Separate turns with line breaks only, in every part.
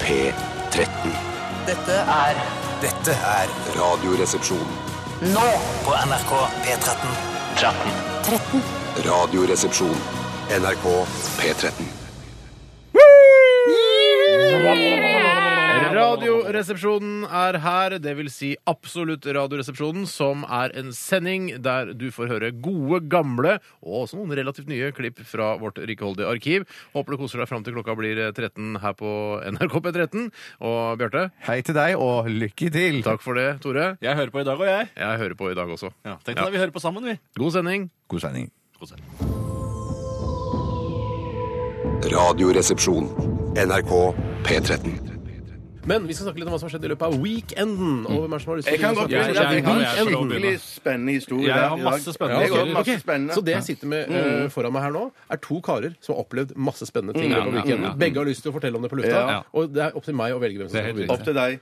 P13.
Dette er
Dette er
Radioresepsjon.
nå
på NRK P13.
13.
Radioresepsjon. NRK P13.
Radioresepsjonen er her, det vil si absolutt Radioresepsjonen, som er en sending der du får høre gode, gamle og også noen relativt nye klipp fra vårt rikeholdige arkiv. Håper du koser deg fram til klokka blir 13 her på NRK P13. Og Bjarte,
Hei til deg, og lykke til!
takk for det. Tore,
Jeg hører på i dag òg, jeg.
jeg hører på i dag også.
Ja, tenk deg, Vi hører på sammen, vi.
God sending.
God sending.
Radioresepsjon. NRK P13.
Men vi skal snakke litt om hva som har skjedd i løpet av weekenden. Og hvem er det som har lyst
Jeg
til
kan
å
godt
begynne?
begynne. Jeg
Ja, ja,
har en
ja, jeg får lov å begynne.
skikkelig spennende historie.
Jeg
der
har
i dag.
masse spennende
Jeg har
historier.
masse
Ok,
spennende.
Så det jeg sitter med eh, foran meg her nå, er to karer som har opplevd masse spennende ting. i løpet av
Ja, ja,
weekenden.
ja.
Begge har lyst til å fortelle om det på lufta.
Ja.
Og det er opp til meg å velge hvem som
Det er
skal
helt
begynne.
Opp til deg.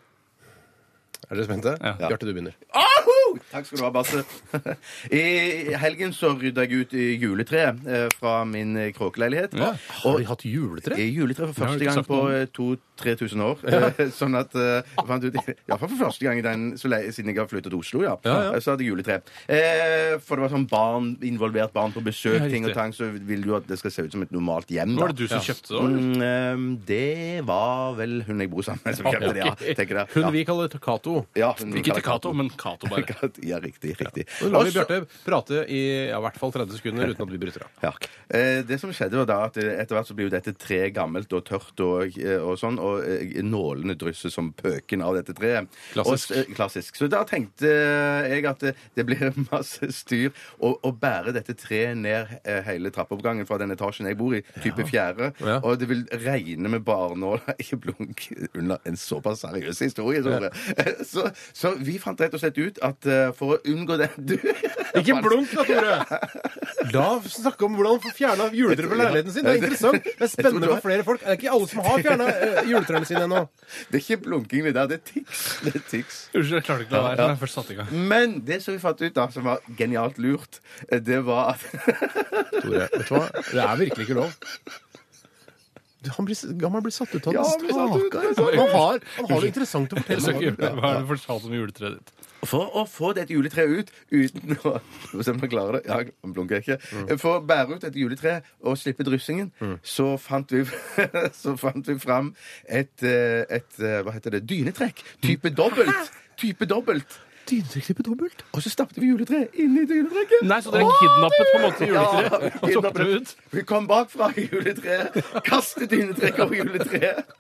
Er dere spente?
Ja.
Bjarte, du begynner.
Aho! Takk skal du ha, Basse. I helgen så rydda jeg ut i juletreet eh, fra min eh, kråkeleilighet.
Har vi hatt juletre?
I juletre for første gang på eh, 2000-3000 år. Sånn at eh, jeg fant ut, ja, for første gang i den, så le, siden jeg har flyttet til Oslo, ja.
Ja, ja.
Så hadde jeg juletre. Eh, for det var sånn barn, involvert barn på besøk,
Ja,
ting og
riktig.
tang, så vil du at det skal se ut som et normalt hjem. da.
Var det du som kjøpte det? eller?
Mm, ehm, det var vel hun jeg bor sammen med, som kjøpte det. ja, tenker jeg.
Hun
Ja.
vi kaller Cato.
Ja, hun vi
Ikke til
kaller
Cato, men Cato bare.
Kat- Ja, riktig. riktig.
Nå lar vi
Også-
Bjarte prate i ja, i hvert fall 30 sekunder uten at vi bryter av.
ja. Eh, Det som skjedde var da at eh, etter hvert så blir jo dette treet gammelt og tørt og, eh, og sånn, og eh, nålene drysser som pøken av dette treet.
Klassisk.
Og, s- eh, klassisk. Så da tenkte jeg at eh, det blir masse styr å, å bære dette treet ned eh, hele trappeoppgangen fra den etasjen jeg bor i, type fjerde,
Ja.
og det vil regne med barnåler i blunk under en såpass seriøs historie. Tore. Så, så vi fant rett og slett ut at eh, for å unngå det du,
Ikke blunk da, Tore! La oss snakke om hvordan man får fjerna juletre fra leiligheten sin. Det er interessant. Det er spennende for flere folk. Det er ikke alle som har fjerna juletrærne sine ennå.
Det er ikke blunking det der, det er tics. Det er tics.
Unnskyld, jeg klarte ikke å la være. når jeg først satte i gang.
Men det som vi fant ut da, som var genialt lurt, eh, det var at
Tore, vet du hva? Det er virkelig ikke lov. Du, han, blir, s- han blir satt ut av
Ja,
den
han blir
stakkaren.
satt ut, han blir satt ut.
Han har, han har det interessant å
Jeg
fortelle.
skal ikke gjøre det. Hva er det du fortalte om juletreet ditt?
For å få dette juletreet ut uten å Skal vi se om jeg klarer det. Ja, han blunker ikke.
Mm.
For å bære ut dette juletreet og slippe dryssingen, så, fant vi, så fant vi fram et, eh, et eh, Hva heter det? Dynetrekk.
Mm.
Type dobbelt. Type dobbelt.
Dynetrekklippet dobbelt?
Og så stappet vi juletreet inni dynetrekket.
Nei, så dere kidnappet på en måte
Ja,
juletreet?
vi
Og tok det ut?
Vi kom bakfra i juletreet, kastet dynetrekk over juletreet.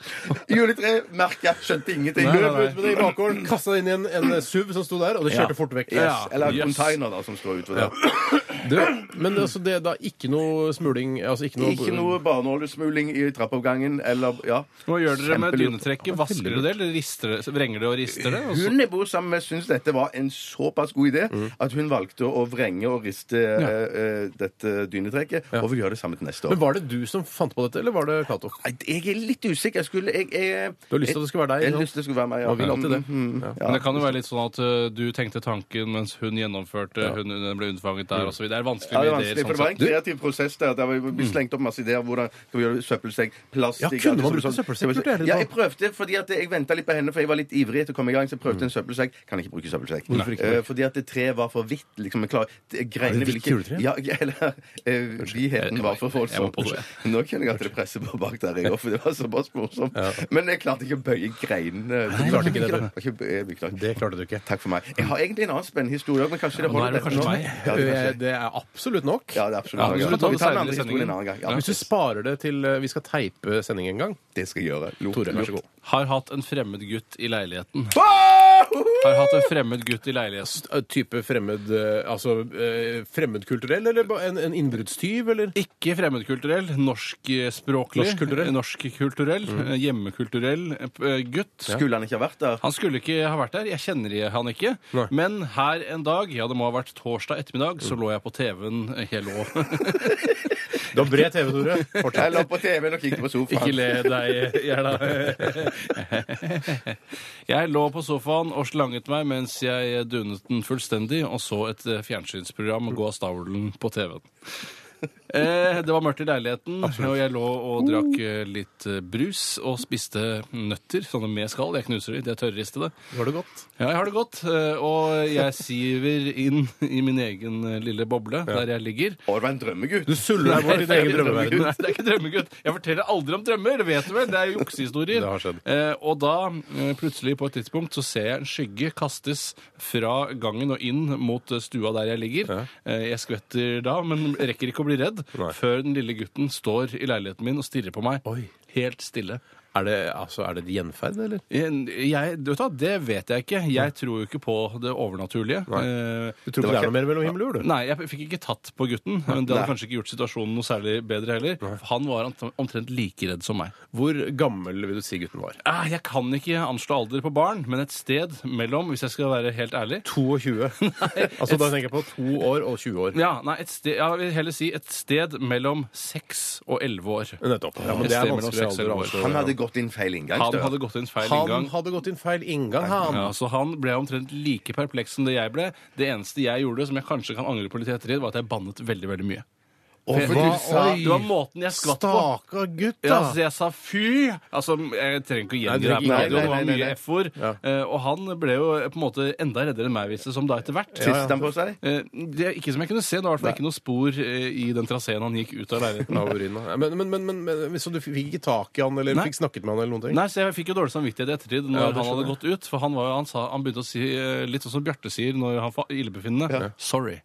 Juletreet merka, skjønte ingenting.
Nei, nei,
Løp
nei.
ut
Med det i bakgården, kasta inn i en, en eh, SUV som sto der, og det kjørte fort vekk.
Yes. Eller
Yes.
container, da, altså. som står utfor der.
Du, men altså, det er da ikke noe smuling altså ikke noe,
Ikke noe barneoljesmuling i trappeoppgangen eller ja.
Hva gjør dere med
Kjempelurt.
dynetrekket? Vasker dere det, eller rister det? vrenger det og rister det? Og så-
Hun jeg bor sammen med, syntes dette var en såpass god idé
Mm.
at hun valgte å vrenge og riste eh, eh, dette dynetrekket, og vil gjøre det samme til neste
Men
år.
Var det du som fant på dette, eller var det Cato?
Nei, Jeg er litt usikker. Jeg skulle jeg, jeg,
Du har lyst til at det skal være deg?
Jeg har
ikke
lyst
sant?
til det skulle være meg.
Man vil alltid det.
Mm, mm,
Ja.
ja.
Men det kan jo være litt sånn at ø, du tenkte tanken mens hun gjennomførte, hun, hun ble unnfanget der osv. Det er vanskelig
Mm. Ja,
med
det er vanskelig,
ideer.
for
Sånn
det var en
sett.
kreativ prosess der. Der vi ble slengt opp masse ideer. Hvordan skal vi gjøre søppelsekk, plastikk
Ja, kunne
alt
man
det
bruke
sånn.
søppelsekk? Burde jeg det
Ja,
da?
jeg prøvde, fordi at jeg venta litt på henne, for jeg var litt ivrig etter å komme i gang. Så jeg prøvde en søppelsekk. Kan ikke bruke søppelsekk.
Mm. Hvorfor ikke?
Eh, fordi at det treet var for hvitt. liksom, jeg klarer- det-
Er det
Greinene ville
hvitt
ikke
juletre?
Ja, eller eh, Hvitheten var for
Jeg må
voldsom.
på do, jeg.
Nå kjenner jeg at det presser på bak der, jeg òg, for det var såpass morsomt. Men jeg klarte ikke å bøye greinene.
du klarte ikke det, du.
Jeg klarte ikke- jeg beklager.
Det klarte du ikke.
Takk for meg. Jeg har egentlig en annen spennende historie òg, men kanskje
nå
det
er
holder
det
dette
kanskje
nå?
meg.
Ja, det er kanskje-
Eh, Det er absolutt nok.
ja, det er absolutt.
Ja, vi
noe.
skal ta
vi
det
tar den
senere
andre
i
historien en
sendingen.
annen gang. Ja,
Ja.
Hvis du sparer det til eh, vi skal teipe sendingen en gang
Det skal jeg gjøre. Lort,
Tore, vær så god.
Har hatt en fremmed gutt i leiligheten.
Wow!
Har hatt en fremmed gutt i leiligheten.
Eh, Type fremmed eh, Altså eh, fremmedkulturell, eller ba- en, en innbruddstyv, eller?
Ikke fremmedkulturell, norskspråklig.
Norskkulturell.
norskkulturell, eh, Hjemmekulturell eh, p- eh, gutt.
Mm. Skulle han ikke ha vært der?
Han skulle ikke ha vært der. Jeg kjenner i- han ikke.
Nei.
Men her en dag, ja det må ha vært torsdag ettermiddag,
Mm.
så lå jeg på TV-en eh, Jeg lå.
Du har bred TV, Tore.
Jeg lå på TV-en og kikket på
Ikke
sofaen.
le deg, Gjerda. Jeg lå på sofaen og slanget meg mens jeg dunet den fullstendig og så et eh, fjernsynsprogram gå av stavlen på TV-en. Eh, det var mørkt i leiligheten, og jeg lå og drakk eh, litt eh, brus og spiste nøtter. Sånne med skall. Jeg knuser de, de er tørrristede.
Var det godt?
Ja, jeg har det godt. eh, Og jeg siver inn i min egen eh, lille boble der jeg ligger.
Å, det var en drømmegutt.
Du suller deg bort i din egen drømmeverden.
Nei, det er ikke drømmegutt. Jeg forteller aldri om drømmer, det vet du vel? Det er juksehistorier.
Det har skjedd.
Eh, og da, eh, plutselig på et tidspunkt, så ser jeg en skygge kastes fra gangen og inn mot eh, stua der jeg ligger. Eh, jeg skvetter da, men rekker ikke å bli redd
Nei.
før den lille gutten står i leiligheten min og stirrer på meg.
Oi.
Helt stille.
Er det, altså, er det et gjenferd, eller?
Jeg, jeg, vet du hva, Det vet jeg ikke. Jeg tror jo ikke på det overnaturlige. Eh,
Du tror ikke det er noe mer mellom himmel og jord? du?
Nei, jeg fikk ikke tatt på gutten. Men det hadde kanskje ikke gjort situasjonen noe særlig bedre heller. For Han var ant- omtrent like redd som meg.
Hvor gammel vil du si gutten var?
Eh, Jeg kan ikke anslå alder på barn, men et sted mellom, hvis jeg skal være helt ærlig
22. altså, da tenker jeg på to år og 20 år.
ja, nei, et sted, Jeg vil heller si et sted mellom seks og elleve år.
Nettopp. Ja, men
Et
det er
sted mellom
vanskelig
seks
alder å
og
anslå.
Han hadde gått inn feil
Han
inngangsdør.
hadde gått inn feil
Han
inngang.
hadde gått inn feil inngang, han.
Ja, så Han ble omtrent like perpleks som det jeg ble. Det eneste jeg gjorde, som jeg kanskje kan angre på litt i ettertid, var at jeg bannet veldig veldig mye.
Å, for
Hva?
du sa
Oi.
Det var måten jeg skvatt på.
Stakkar gutt, altså.
Ja,
da!
så jeg sa fy. Altså, Jeg trenger ikke å
Nei,
gjengi
det
det
er
her på radioen.
ikke-
Det
nei,
var
nei, nei,
mye
nei.
F-ord.
Ja.
Eh, Og han ble jo på en måte enda reddere enn meg, viste det som da etter hvert.
Tisset han på seg?
Eh, Det er ikke som jeg kunne se. Det var i hvert fall ikke noe spor eh, i den traseen han gikk ut av leiligheten.
Av urinen. da. Men, men, men, men, men, så du fikk ikke tak i han, eller
Nei.
fikk snakket med han, eller noen ting?
Nei, så Jeg fikk jo dårlig samvittighet i ettertid når
Ja, det
han hadde
skjønner
gått ut. For han, var, jo- han, sa, han begynte å si eh, litt sånn som Bjarte sier når han får illebefinnende. Sorry.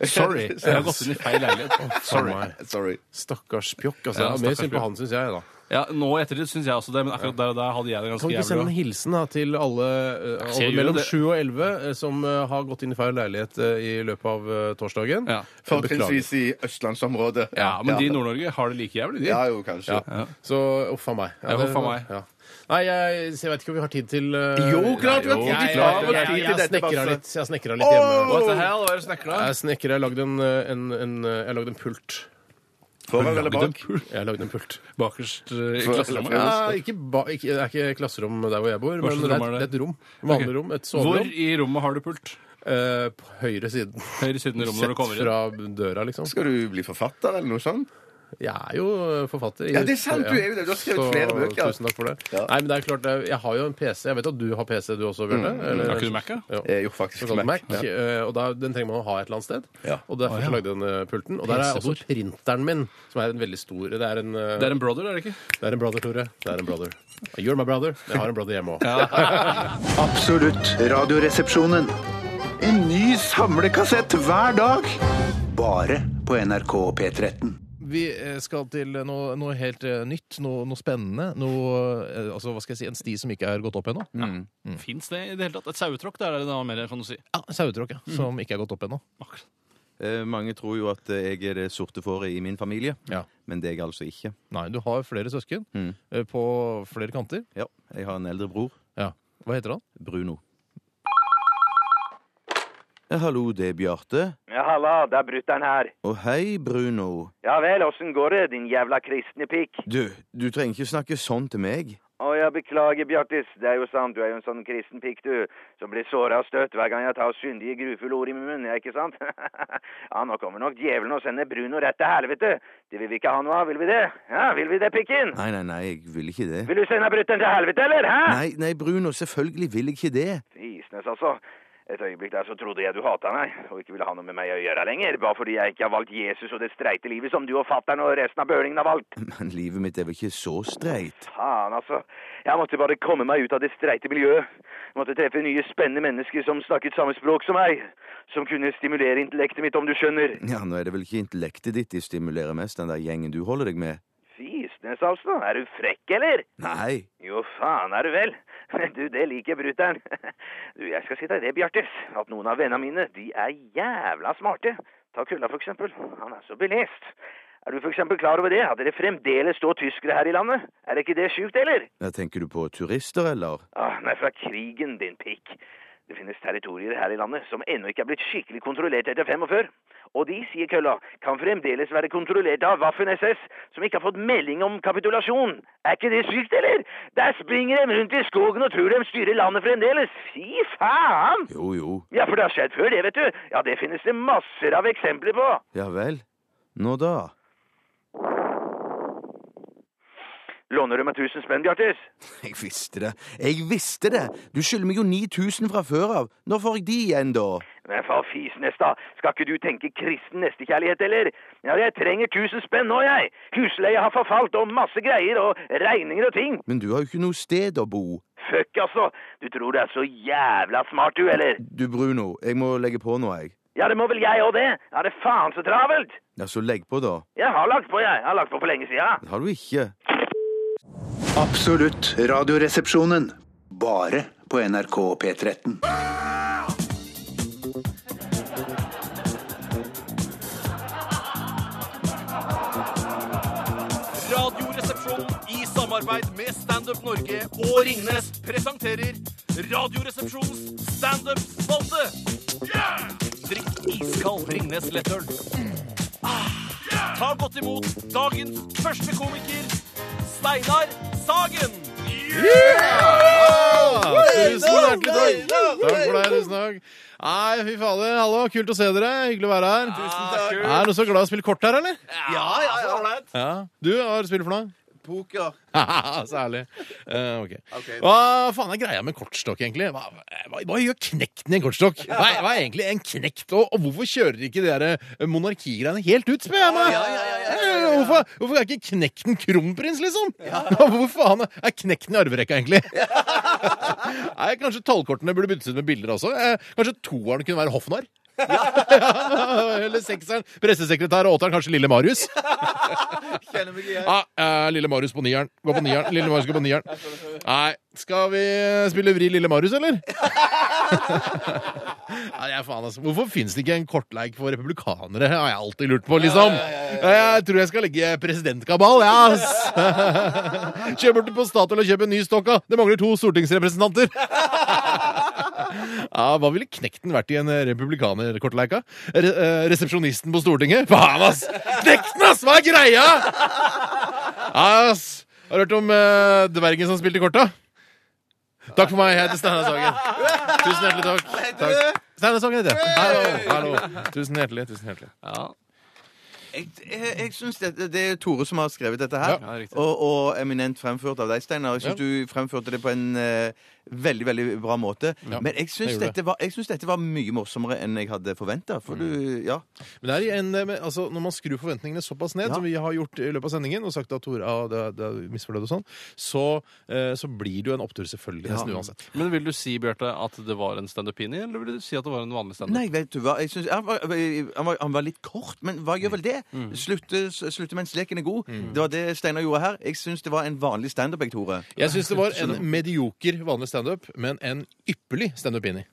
Sorry. Jeg har gått inn i feil leilighet. Sorry.
Sorry.
Stakkars pjokk. altså.
Ja,
Det er mer
stakkars
synd
pjokk.
på han, syns jeg. da.
Ja, Nå i ettertid syns jeg også det, men akkurat der og der hadde jeg det
Kan
ganske
vi ikke sende en
jævlig.
hilsen da, til alle, eh,
Ser
alle
jo
mellom
det.
7 og 11 eh, som eh, har gått inn i feil leilighet eh, i løpet av eh, torsdagen?
Ja.
Beklager.
Fortrinnsvis i østlandsområdet.
Ja, men de i Nord-Norge har det like jævlig, de.
Ja, jo, kanskje.
Så uff a meg.
Ja,
det-
uff a meg.
Ja. Nei, jeg, så jeg vet ikke om vi har tid til eh,
Jo, klart vi har
nei, Jeg, jeg, jeg,
tid. Vi har tid til
jeg, jeg,
dette,
snekra
Basse.
litt, jeg snekra litt hjemme.
What the hell, hva er det du snakker om?
Jeg snekra. Jeg lagde en, eh, en, en, eh, jeg lagde en pult.
Foran eller
Lagde en
bak?
pult
Jeg lagde en pult.
Bakerst eh, i
For-
klasserommet.
for-
Ja, ikke ba, ikke, det er ikke klasserom der hvor jeg bor, men
slags
det er,
rom er det?
et- det er et rom. Vanlig
Ok.
rom. Et
Hvor
soverom.
i rommet har du pult?
eh, på høyre siden.
Høyre siden i rommet når du
Sett
kommer inn.
fra døra, liksom.
Skal du bli forfatter, eller noe sånt?
Jeg er jo forfatter. i-
Ja, det er sant, du er jo det. Du har skrevet
Så
flere bøker.
Tusen takk for det. Nei, men det er klart, det er- jeg har jo en PC. Jeg vet at du har PC, du også, Bjarte? eller-
Har ikke du Mac-a?
Ja.
Eh, Mm. Jo, faktisk.
Såkalt Mac.
Mac. Ja.
eh, Og da, den trenger man å ha et eller annet sted.
Ja.
Og derfor så lagde jeg den eh, pulten. Og der er også printeren min, som er en veldig stor Det er en, eh,
Det er en brother, er det ikke?
det er en brother, Tore. Det er en brother. You're my brother. Jeg har en brother hjemme òg.
Absolutt radioresepsjonen. En ny samlekassett hver dag. Bare på NRK P13.
Vi eh, skal til noe, noe helt eh, nytt, noe, noe spennende. Noe, eh, altså, hva skal jeg si, en sti som ikke er gått opp ennå.
Mm.
Fins Mm. det i det hele tatt? Et sauetråkk der er det noe mer, kan du si.
Ja, Sauetråkk,
Mm.
ja. Som ikke er gått opp ennå.
Eh, Mange tror jo at eh, jeg er det sorte fåret i min familie,
Ja.
men det er jeg altså ikke.
Nei, du har flere søsken
Mm.
eh, på flere kanter.
Ja, jeg har en eldre bror,
Ja. Hva heter han?
Bruno. Ja, hallo, det er Bjarte.
Ja, halla, det er brutter'n her.
Å, hei, Bruno.
Ja vel, åssen går det, din jævla kristne pikk?
Du, du trenger ikke snakke sånn til meg.
Å ja, beklager, Bjartis, det er jo sant, du er jo en sånn kristen pikk, du, som blir såra og støtt hver gang jeg tar syndige, grufulle ord i min munn, ja, ikke sant? ja, nå kommer nok djevelen og sender Bruno rett til helvete. Det vil vi ikke ha noe av, vil vi det? Ja, vil vi det, pikken?
Nei, nei, nei, jeg vil ikke det.
Vil du sende brutter'n til helvete, eller? Hæ?
Nei, nei, Bruno, selvfølgelig vil jeg ikke det.
Isnes, altså. Et øyeblikk der så trodde jeg du hata meg, og ikke ville ha noe med meg å gjøre lenger, bare fordi jeg ikke har valgt Jesus og det streite livet som du og fatter'n og resten av bølingen har valgt.
Men livet mitt er vel ikke så streit.
Faen, altså. Jeg måtte bare komme meg ut av det streite miljøet. Jeg måtte treffe nye, spennende mennesker som snakket samme språk som meg. Som kunne stimulere intellektet mitt, om du skjønner.
Ja, nå er det vel ikke intellektet ditt de stimulerer mest, den der gjengen du holder deg med.
Fisnes, altså. Er du frekk, eller?
Nei,
Jo, faen er du vel. Du, det liker brutter'n. Du, jeg skal si deg det, Bjartes, at noen av vennene mine, de er jævla smarte. Ta Kulla, for eksempel. Han er så belest. Er du for eksempel klar over det, at dere fremdeles står tyskere her i landet? Er ikke det sjukt, eller?
ja, tenker du på turister, eller?
Ah, nei, fra krigen, din pikk. Det finnes territorier her i landet som ennå ikke er blitt skikkelig kontrollert etter 45. Og de, sier kølla, kan fremdeles være kontrollert av Waffen-SS, som ikke har fått melding om kapitulasjon. Er ikke det sykt, eller? Der springer de rundt i skogen og tror de styrer landet fremdeles. Fy faen!
Jo, jo.
Ja, for det har skjedd før, det, vet du. Ja, det finnes det masser av eksempler på.
Ja vel. Nå da.
Låner du meg 1000 spenn, Bjartis?
Jeg visste det. Jeg visste det! Du skylder meg jo 9000 fra før av. Når får jeg de igjen, da?
Men faen fisnes, da. Skal ikke du tenke kristen nestekjærlighet, eller? Ja, jeg trenger 1000 spenn nå, jeg. Husleia har forfalt, og masse greier, og regninger og ting.
Men du har jo ikke noe sted å bo.
Fuck, altså. Du tror du er så jævla smart, du, eller?
Du, Bruno, jeg må legge på nå, jeg.
Ja, det må vel jeg òg, det. Er det faen så travelt?
Ja, så legg på, da.
Jeg har lagt på, jeg. Jeg har lagt på for lenge sida.
Det har du ikke.
Absolutt radioresepsjonen. Bare på NRK P13.
Radioresepsjonen i samarbeid med Standup Norge og Ringnes presenterer Radioresepsjonens standup-spalte. Drikk iskald Ringnes-lettøl. Ah. Ta godt imot dagens første komiker, Steinar Sagen.
Ja! Tusen hjertelig takk.
altså.
Takk for deg, tusen takk. Nei, fy fader. Hallo, kult å se dere. Hyggelig å være her. Tusen takk. Er det noen som er glad i å spille kort her, eller?
Ja, ja, ja.
Ja. Du har spilt for noe?
Poker.
Særlig. Eh, ok. Hva faen er greia med kortstokk, egentlig? Hva, hva, hva gjør knekten i en kortstokk? Hva, er- hva er egentlig en knekt, og, og hvorfor kjører ikke de der eh, monarkigreiene helt ut, spør jeg meg? Eh, Hvorfor, hvorfor er ikke knekten kronprins, liksom? Hvor faen er knekten i arverekka, egentlig? Nei, kanskje tallkortene burde byttes ut med bilder også. Eh, Kanskje toeren kunne være hoffnarr? Eller sekseren. Pressesekretær og åtteren, kanskje lille Marius?
Kjenner meg igjen.
Ja, eh, Lille Marius på nieren. Gå på nieren. Lille Marius går på nieren. Nei, skal vi spille Vri Lille Marius, eller? Nei, jeg faen altså. Hvorfor fins det ikke en kortleik for republikanere? har jeg alltid lurt på, liksom. Jeg tror jeg skal legge presidentkabal, ja, ass. Kjør bort på Statoil og kjøp en ny stokk, da. Det mangler to stortingsrepresentanter. Ja, hva ville knekten vært i en eh, republikanerkortleika? Re eh, resepsjonisten på Stortinget? Faen, ass! Knekten, ass! Hva er greia?! Ass! Har du hørt om eh, dvergen som spilte korta? Takk for meg. Jeg heter Steinar Sagen. Tusen hjertelig takk. takk. Steinar Sagen heter jeg. Hallo, hallo. Tusen hjertelig. Tusen hjertelig.
Jeg,
jeg, jeg synes det, det er Tore som har skrevet dette her,
Ja, ja, riktig.
og, og eminent fremført av deg, Steinar. Jeg syns du fremførte det på en eh, veldig veldig bra måte.
Ja,
Men jeg
jeg
syns
gjorde Mm.
dette, var- jeg synes dette var mye morsommere enn jeg hadde forventa. For du Ja.
Men det er i en, eh, men, altså, når man skrur forventningene såpass ned, som vi har gjort i løpet av sendingen, og sagt at Tora ah, det, er- det er misfornøyd og sånn, så, eh, så blir det jo en opptur, selvfølgelig. Nesten uansett.
Men vil du si, Bjarte, at det var en standup-pini, eller vil du si at det var en vanlig standup?
Nei, vet du hva. Jeg synes, han, var, han, var, han var litt kort, men hva
Mm.
gjør vel det? Slutte, slutte mens leken er god. Det var det Steinar gjorde her. Jeg syns det var en vanlig standup, jeg, Tore.
Jeg syns det var en medioker vanlig standup, men en ypperlig standup-inni.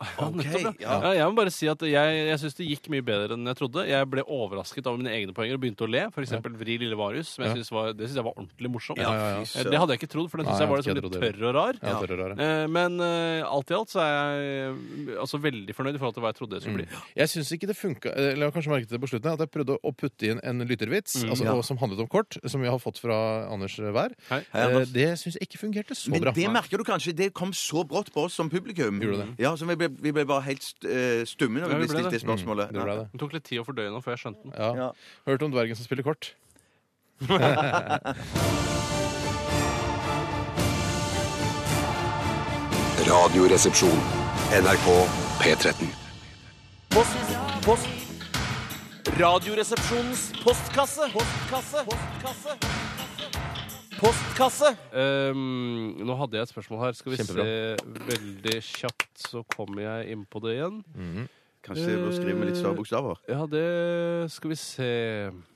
Nettopp, ja. Ja, jeg må bare si at jeg, jeg syns det gikk mye bedre enn jeg trodde. Jeg ble overrasket av mine egne poenger og begynte å le. For eksempel Vri lille Marius. Som jeg
Ja.
synes var, det syns jeg var ordentlig morsomt.
Ja, ja, ja.
Eh, Det hadde jeg ikke trodd, for den
Nei,
syns jeg var
jeg
liksom
hadde
litt
ikke trodd det.
tørr og rar.
Ja, tørr og rar, ja.
Eh, Men eh, alt i alt så er jeg eh, altså veldig fornøyd i forhold til hva jeg trodde
Mm.
det
Mm.
skulle bli.
Jeg syns ikke det funka Eller jeg har kanskje merket det på slutten, at jeg prøvde å putte inn en lyttervits
Mm.
altså,
Ja.
og- som handlet om kort, som vi har fått fra Anders Wær.
Hei.
Eh, Det syns jeg ikke fungerte så
Men
bra.
det merker du kanskje. Det kom så brått på oss som publikum. Ja, så vi ble, vi ble bare helt st- eh, stumme når
Ja,
vi
vi
ble
ble
stilt
det.
det spørsmålet.
Mm, det ble det.
Det tok litt tid å fordøye nå før jeg skjønte den.
Ja. Hørte om dvergen som spiller kort?
Radioresepsjon. NRK P13.
Post, post. Radioresepsjonens postkasse. Postkasse. Postkasse. Postkasse.
Ehm, nå hadde jeg et spørsmål her. Skal vi
Kjempebra.
se veldig kjapt, så kommer jeg inn på det igjen.
Kanskje jeg bør skrive med litt større bokstaver?
Eh, Ja, det skal vi se.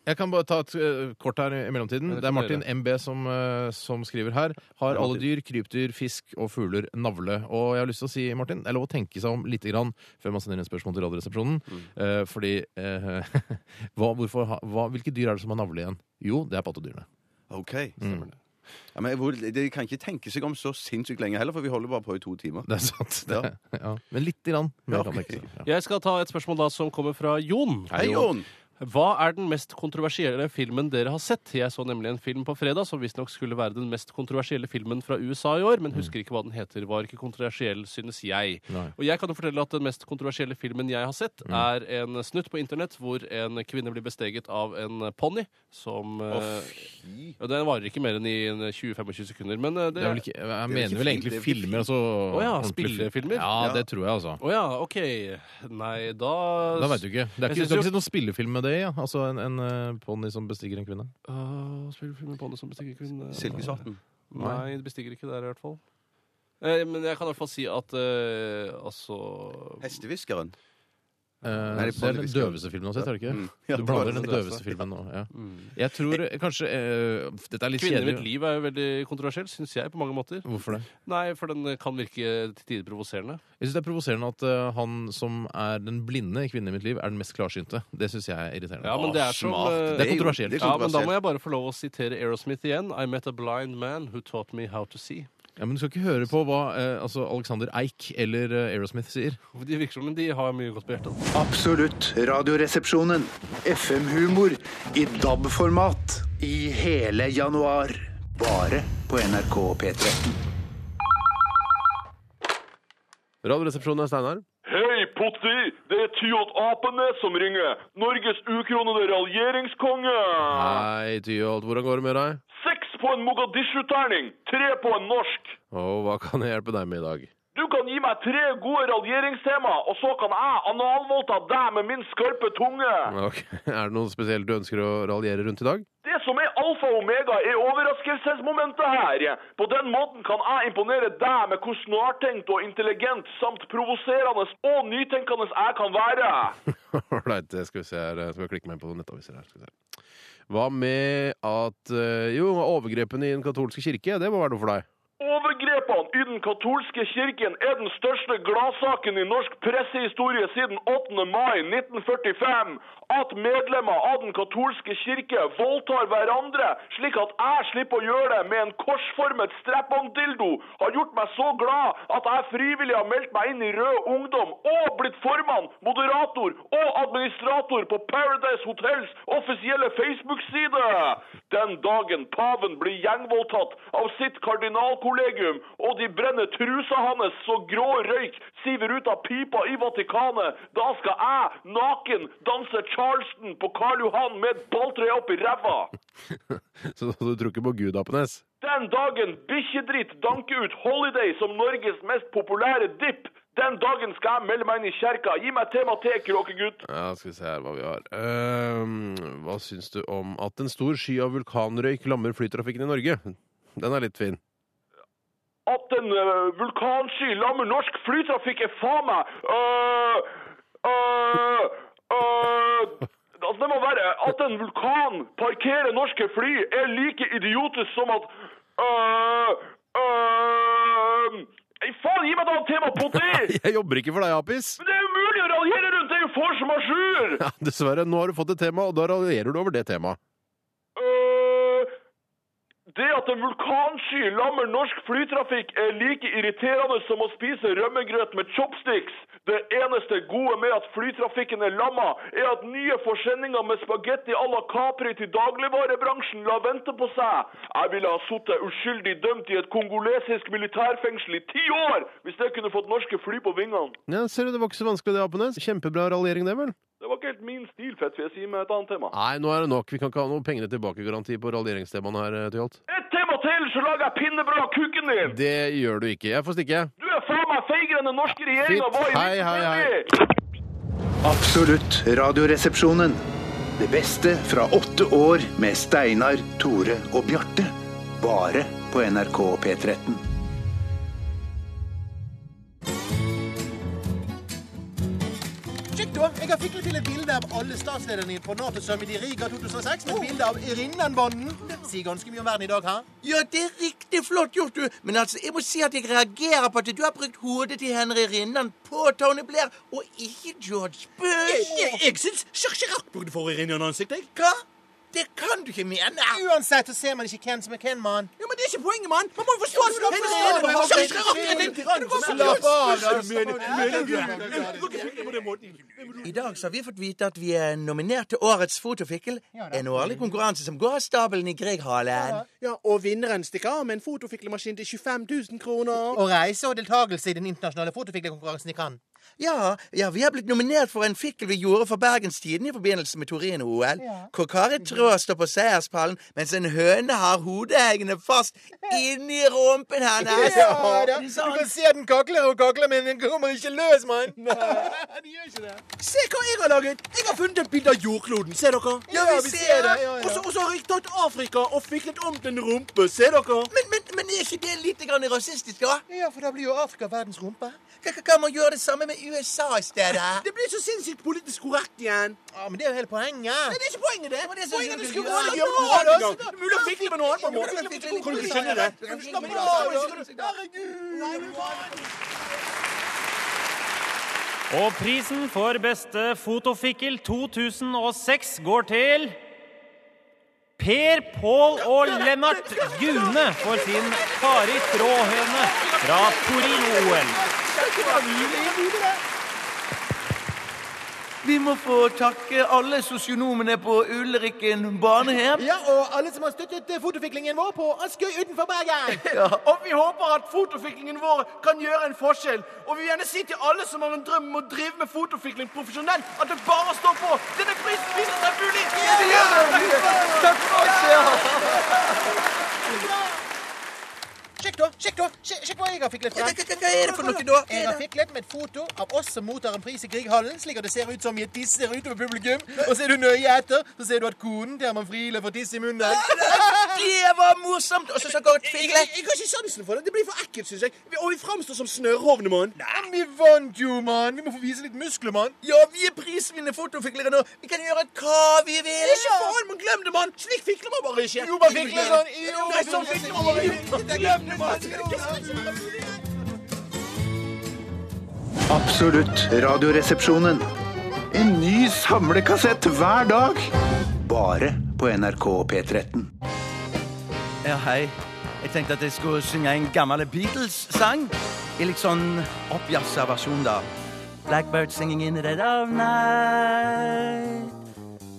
Jeg kan bare ta et eh, kort her i mellomtiden.
Jeg vet
Det er
ikke
Martin
hva
MB som, eh, som skriver her. Har alle dyr, krypdyr, fisk og fugler navle? Og jeg har lyst til å si, Martin, det er lov å tenke seg om litt grann før man sender inn spørsmål til Radioresepsjonen. Eh, fordi eh, hva, hvorfor, ha- hva, Hvilke dyr er det som har navle igjen? Jo, det er pattedyrene.
OK.
Mm.
stemmer det. Ja, men jeg hvor- Det kan ikke tenke seg om så sinnssykt lenge heller, for vi holder bare på i to timer.
Det er sant. Det, ja. Men lite grann. mer kan det ikke være.
Jeg skal ta et spørsmål da som kommer fra Jon.
Hei, Jon.
Hva er den mest kontroversielle filmen dere har sett? Jeg så nemlig en film på fredag som visstnok skulle være den mest kontroversielle filmen fra USA i år, men husker ikke hva den heter. Var ikke kontroversiell, synes jeg.
Mm. Nei. Mm.
Og jeg kan jo fortelle at den mest kontroversielle filmen jeg har sett, er en snutt på internett hvor en kvinne blir besteget av en ponni som eh, og Den varer ikke mer enn i en 20-25 sekunder, men eh, det,
Det er vel ikke, jeg mener vel egentlig filmer, altså.
Å ja,
ordentlig-
spillefilmer?
Ja, det tror jeg, altså.
Å ja, OK. Nei, da
Da veit du ikke. Det er
Jeg synes
ikke, du kan
jo-
ikke si noen spillefilm med det i, ja. altså en, en eh, ponni som bestiger en kvinne.
Åh, Spillefilmer på det som bestiger kvinner
Silkesorten.
Nei, det bestiger ikke der i hvert fall. Eh, men jeg kan i hvert fall si at eh, altså
Hestehviskeren.
Eh,
Nei,
det er den
Ponnybisken.
døveste filmen du har sett, er det
Mm.
ikke?
Ja,
Du
det var
blander den
den
døveste
døveste.
filmen nå. Ja.
Mm.
Jeg tror eh, kanskje eh, Dette er litt
'Kvinner i mitt
kjedelig.
liv' er jo veldig kontroversiell, syns jeg, på mange måter.
Hvorfor det?
Nei, for den kan virke til tider provoserende.
Jeg syns det er provoserende at eh, han som er den blinde kvinnen i mitt liv, er den mest klarsynte. Det syns jeg er irriterende.
Ja, men det er som eh,
Det er kontroversielt.
Ja, men da må jeg bare få lov å sitere Aerosmith igjen. I met a blind man who taught me how to see.
Ja, men du skal ikke høre på hva eh, altså Alexander Eik eller eh, Aerosmith sier.
De virker som om de har mye godt på hjertet.
Absolutt. Radioresepsjonen. FM-humor i DAB-format i hele januar. Bare på NRK P13.
Radioresepsjonen er Steinar.
Hei, Potti! Det er Tyholt Apenes som ringer. Norges ukronede raljeringskonge.
Hei, Tyholt. Hvordan går det med deg?
Seks på en Mogadishu-terning, tre på en norsk.
Og hva kan jeg hjelpe deg med i dag?
Du kan gi meg tre gode raljeringstema, og så kan jeg analvoldta deg med min skarpe tunge.
Ok, Er det noe spesielt du ønsker å raljere rundt i dag?
Det som er alfa og omega, er overraskelsesmomentet her. På den måten kan jeg imponere deg med hvor snartenkt og intelligent samt provoserende og nytenkende jeg kan være.
Ålreit, det skal vi se her. Skal jeg klikke meg inn på noen nettaviser her. Skal vi se. Hva med at eh, Jo, overgrepene i den katolske kirke, det må være noe for deg.
Overgrepene i den katolske kirken er den største gladsaken i norsk pressehistorie siden 8. mai 1945. At medlemmer av den katolske kirke voldtar hverandre, slik at jeg slipper å gjøre det med en korsformet strap-on-dildo, har gjort meg så glad at jeg frivillig har meldt meg inn i Rød Ungdom og blitt formann, moderator og administrator på Paradise Hotels offisielle Facebook-side. Den dagen paven blir gjengvoldtatt av sitt kardinalkollegium, og de brenner trusa hans så grå røyk siver ut av pipa i Vatikanet, da skal jeg, naken, danse Charleston på Karl Johan med et balltre opp i ræva.
Så, så du tror ikke på Gud, Apenes?
Den dagen bikkjedritt danker ut Holiday som Norges mest populære dipp, den dagen skal jeg melde meg inn i kjerka. Gi meg tema te, kråkegutt.
Ja, skal vi se her hva vi har. Ehm, hva syns du om at en stor sky av vulkanrøyk lammer flytrafikken i Norge? Den er litt fin.
At en øh, vulkansky lammer norsk flytrafikk er faen meg øh, øh, øh, Altså, det må være At en vulkan parkerer norske fly, er like idiotisk som at øh, øh, Nei, Faen, gi meg da et tema, Potti!
Jeg jobber ikke for deg, Apis!
Men det er umulig å raljere rundt! Det er jo for som har sjur!
Ja, dessverre. Nå har du fått et tema, og da raljerer du over det temaet.
Øh, Det at en vulkansky lammer norsk flytrafikk er like irriterende som å spise rømmegrøt med chopsticks. Det eneste gode med at flytrafikken er lamma, er at nye forsendinger med spagetti à la Capri til dagligvarebransjen lar vente på seg. Jeg ville ha sittet uskyldig dømt i et kongolesisk militærfengsel i ti år hvis jeg kunne fått norske fly på vingene.
Ja, ser du, Det var ikke så vanskelig, det, Apenes. Kjempebra raljering, det, vel?
Det var ikke helt min stil, fett, vil jeg si, med et annet tema.
Nei, nå er det nok. Vi kan ikke ha noe pengene tilbake-garanti på raljeringstemaene her, eh, Tyholt.
Et tema til, så lager jeg pinnebra av kuken din!
Det gjør du ikke. Jeg får stikke.
Du er faen meg feigere enn den norske regjeringa var i
Hei, hei, hei.
1970!
Absolutt. Radioresepsjonen. Det beste fra åtte år med Steinar, Tore og Bjarte. Bare på NRK P13.
Sjekk da, jeg har fiklet til et bilde av alle statslederne på NATO-summit i Riga 2006 med bilde av Rinnan-banden. Sier ganske mye om verden i dag, hæ?
Ja, det er riktig flott gjort, du. Men altså, jeg må si at jeg reagerer på at du har brukt hodet til Henry Rinnan på Tony Blair, og ikke George Bush.
Jeg, jeg, jeg syns Chirchirac burde få Rinnan-ansikt, jeg. Hva?
Det kan du ikke mene!
Uansett så ser man ikke hvem som er hvem, mann.
Ja, men Det er ikke poenget, mann! Man må jo forstå at
Ja, men slapp av,
Henrik Skal vi klare å-
da. Det er en tyrann
Det går
som
bra.
slapp av, da.
I dag så har vi fått vite at vi er nominert til Årets fotofikkel. En årlig konkurranse som går av stabelen i Grieghallen.
Ja, og vinneren stikker av med en fotofiklemaskin til 25 000 kroner.
Og reise og deltakelse i den internasjonale fotofiklekonkurransen i Cannes.
Ja, ja, vi har blitt nominert for en fikkel vi gjorde for Bergenstiden i forbindelse med Torino-OL. Hvor Kari Traa står på seierspallen, mens en høne har hodeeggene fast inni rumpen hennes.
Ja, da. Du kan se den kakler og kakler, men den kommer ikke løs, mann.
Se hva jeg har laget! Jeg har funnet et bilde av jordkloden. Se dere.
Ja, vi ser det. Ja, ja.
Og så- Og så har jeg tatt Afrika og fiklet om til en rumpe. Se dere.
Men, men, men er ikke det litt grann rasistisk, da?
Ja, for da blir jo Afrika verdens rumpe.
Kan, kan man gjøre det samme med USA i stedet?
Det blir så sinnssykt politisk korrekt igjen.
Ja, Men det er jo hele poenget.
Nei, det er ikke poenget, det.
Men det er så
poenget er at det
jævlig
skulle
gøy.
være
Ja,
å gjøre
nå,
noe annet
da.
en gang. Det er mulig å fikle med noe annet på en måte. Kan du ikke skjønne det? Kan du slappe av? liksom?
Og prisen for beste fotofikkel 2006 går til Per, Pål og Lennart Gune for sin Kari Tråhøne fra Torino-OL.
Vi må få takke alle sosionomene på Ulrikken barnehjem.
Ja, og alle som har støttet eh, fotofiklingen vår på Askøy utenfor Bergen.
Ja. Og vi håper at fotofiklingen vår kan gjøre en forskjell. Og vi vil gjerne si til alle som har en drøm om å drive med fotofikling profesjonelt, at det bare står på! Denne prisen viser seg mulig!
det gjør det! Takk for oss,
Sjekk, da. Sjekk da, sjekk, sjekk hva jeg har fiklet frem.
Hva- hva- hva er det for noe da?
Jeg har fiklet med et foto av oss som mottar en pris i Grieghallen, slik at det ser ut som vi tisser utover publikum. Og ser du nøye etter, så ser du at konen til Herman Friele får tiss i munnen.
Det var morsomt! Og så så godt
Jeg,
fikle.
jeg, jeg har ikke sansen for det. Det blir for ekkelt, syns jeg. Vi- Og vi framstår som snørrhovne, mann.
Men vi vant jo, mann! Vi må få vise litt muskler, mann.
Ja, vi er prisvinnende fotofiklere nå. Vi kan gjøre hva vi vil.
Ikke faen, men glem det, mann! Slik fikler man bare ikke.
Jo, man fikler sånn. Jo,
Nei, sånn fikler man bare ikke. Glem
sånn.
det, mann!
Absolutt Radioresepsjonen. En ny samlekassett hver dag. Bare på NRK P13.
Ja, hei. Jeg tenkte at jeg skulle synge en gammel Beatles-sang. I litt sånn oppjazza versjon, da. Blackbird singing in the dead of night.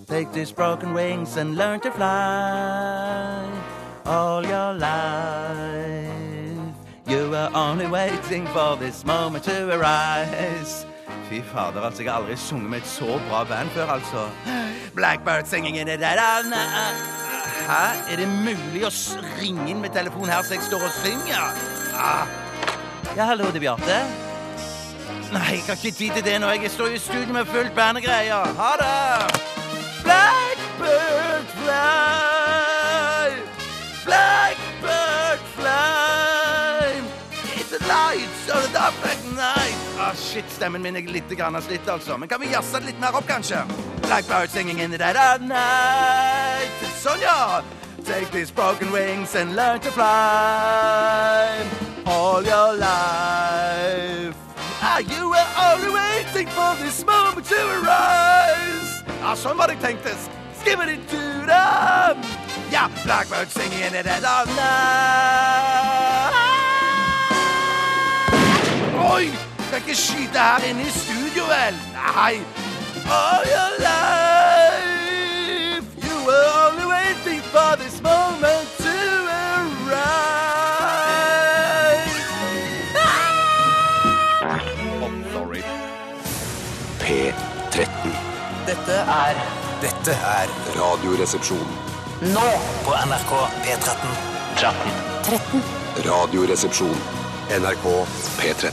Take these broken wings and learn to fly. All your life. You were only waiting for this moment to arise. Fy fader, altså. Jeg har aldri sunget med et så bra band før, altså. Blackbird singing in the dead of night. Hæ? Er det mulig å s- ringe inn med telefon her så jeg står og synger? Ah. Ja, hallo, det er Bjarte. Nei, jeg har ikke tid til det nå. Jeg står jo i studio med fullt band og greier. Ha det! Blackbird fly, blackbird fly. It's the lights of the dark black night. Ah, shit, stemmen min er litt grann slitt, altså. Men kan vi jazze det litt mer opp, kanskje? Blackbird singing in the dead of night. Sånn, ja. Take these broken wings and learn to fly all your life. Ah, you were only waiting for this moment to arise. Ah, sånn var det jeg tenkte. Skibbity doo dum. Ja, blackbird singing in the dead of night. Oi! Skal ikke skyte her inne i studio, vel? Nei. All your life you were only waiting for this moment to arise.
P13.
Dette er
Dette er
Radioresepsjon.
Nå
på NRK P13.
13.
13.
Radioresepsjon. NRK P13.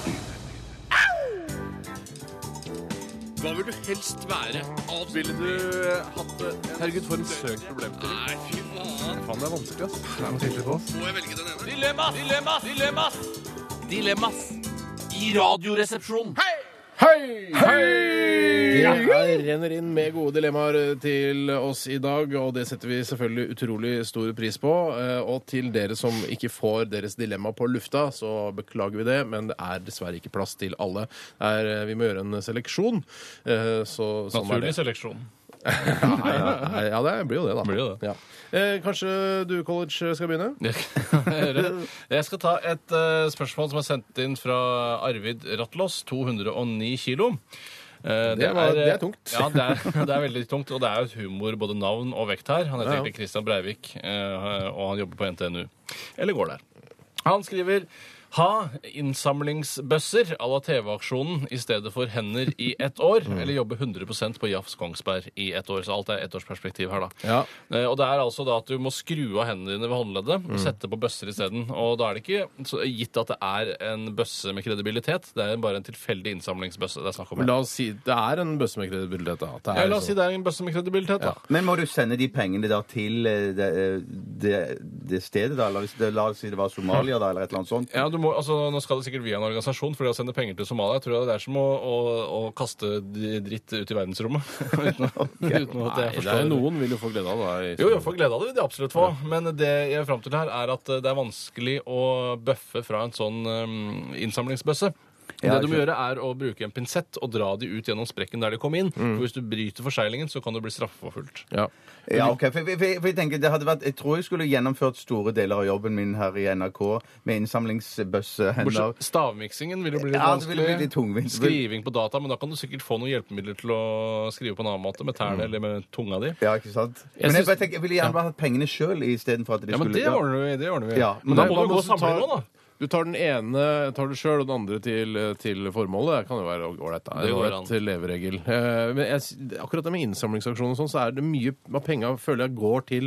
Hva vil du helst være? Ville du eh, hatt det Herregud, for en søk problemstilling. Nei, fy faen.
Faen, det er vanskelig, ass.
Må jeg velge den ene? Dilemmas! Dilemmas! Dilemmas! Dilemmas i Radioresepsjonen.
Hei! Det renner inn med gode dilemmaer eh, til oss i dag, og det setter vi selvfølgelig utrolig stor pris på. Eh, Og til dere som ikke får deres dilemma på lufta, så beklager vi det, men det er dessverre ikke plass til alle. Det Er, eh, vi må gjøre en seleksjon. eh, Så, sånn er
Naturlig
det.
seleksjon.
Nei, nei, ja, det blir jo det, da. Ja. Eh, kanskje du, college, skal begynne?
Jeg skal ta et eh, spørsmål som er sendt inn fra Arvid Rattlås, 209 kilo. Eh,
Det var- det er tungt.
Ja, det er, det er veldig tungt, og det er jo et humor, både navn og vekt her. Han heter
Ja, ja.
egentlig Christian Breivik, eh, og han jobber på NTNU. Eller går der. Han skriver ha innsamlingsbøsser à la TV-aksjonen i stedet for hender i ett år, eller jobbe 100 på Jafs Kongsberg i ett år. Så alt er ettårsperspektiv her, da.
Ja.
Eh, Og det er altså da at du må skru av hendene dine ved håndleddet og
Mm.
sette på bøsser isteden. Og da er det ikke så gitt at det er en bøsse med kredibilitet, det er bare en tilfeldig innsamlingsbøsse det er snakk om.
La oss si det er en bøsse med kredibilitet, da. At Det
ja,
er
la oss si det er en bøsse med kredibilitet, da.
Men må du sende de pengene da til eh, det, det, det stedet, da? Eller hvis det, la oss si det var Somalia, da, eller et eller annet sånt?
Ja, du må, altså, Nå skal det sikkert via en organisasjon, for det å sende penger til Somalia jeg tror jeg det er som å, å, å kaste d- dritt ut i verdensrommet. uten, å- uten at jeg
Nei, det
forstår
er noen vil jo få glede av det.
Jo,
Liksom.
jeg får glede av det, vil de absolutt få. Men det jeg er fram til her, er at eh, det er vanskelig å bøffe fra en sånn um, innsamlingsbøsse.
Ja,
det du må
ikke
gjøre, er å bruke en pinsett og dra de ut gjennom sprekken der de kom inn.
Mm.
For hvis du bryter forseglingen, så kan du bli straffeforfulgt.
Ja.
Ja, ok. For, for, for jeg tenker, det hadde vært Jeg tror jeg skulle gjennomført store deler av jobben min her i NRK med innsamlingsbøssehender.
Bortsett- Stavmiksingen vil jo bli litt
Ja, det
vanskelig.
ville bli litt tungvint.
Skriving på data, men da kan du sikkert få noen hjelpemidler til å skrive på en annen måte, med tærne eller med tunga di.
Mm. Ja, ikke sant? Men jeg, bare tenker, jeg ville gjerne bare hatt pengene sjøl istedenfor at de
Ja, men
skulle
det ordner vi. Det ordner vi.
Ja,
men da må du gå og samle nå, da.
Du tar den ene tar du sjøl, og den andre til, til formålet. Det kan jo være ålreit. da.
Det
En
går
ålreit leveregel. Eh, Men jeg, s- akkurat det med innsamlingsaksjoner og sånn, så er det mye av penga føler jeg går til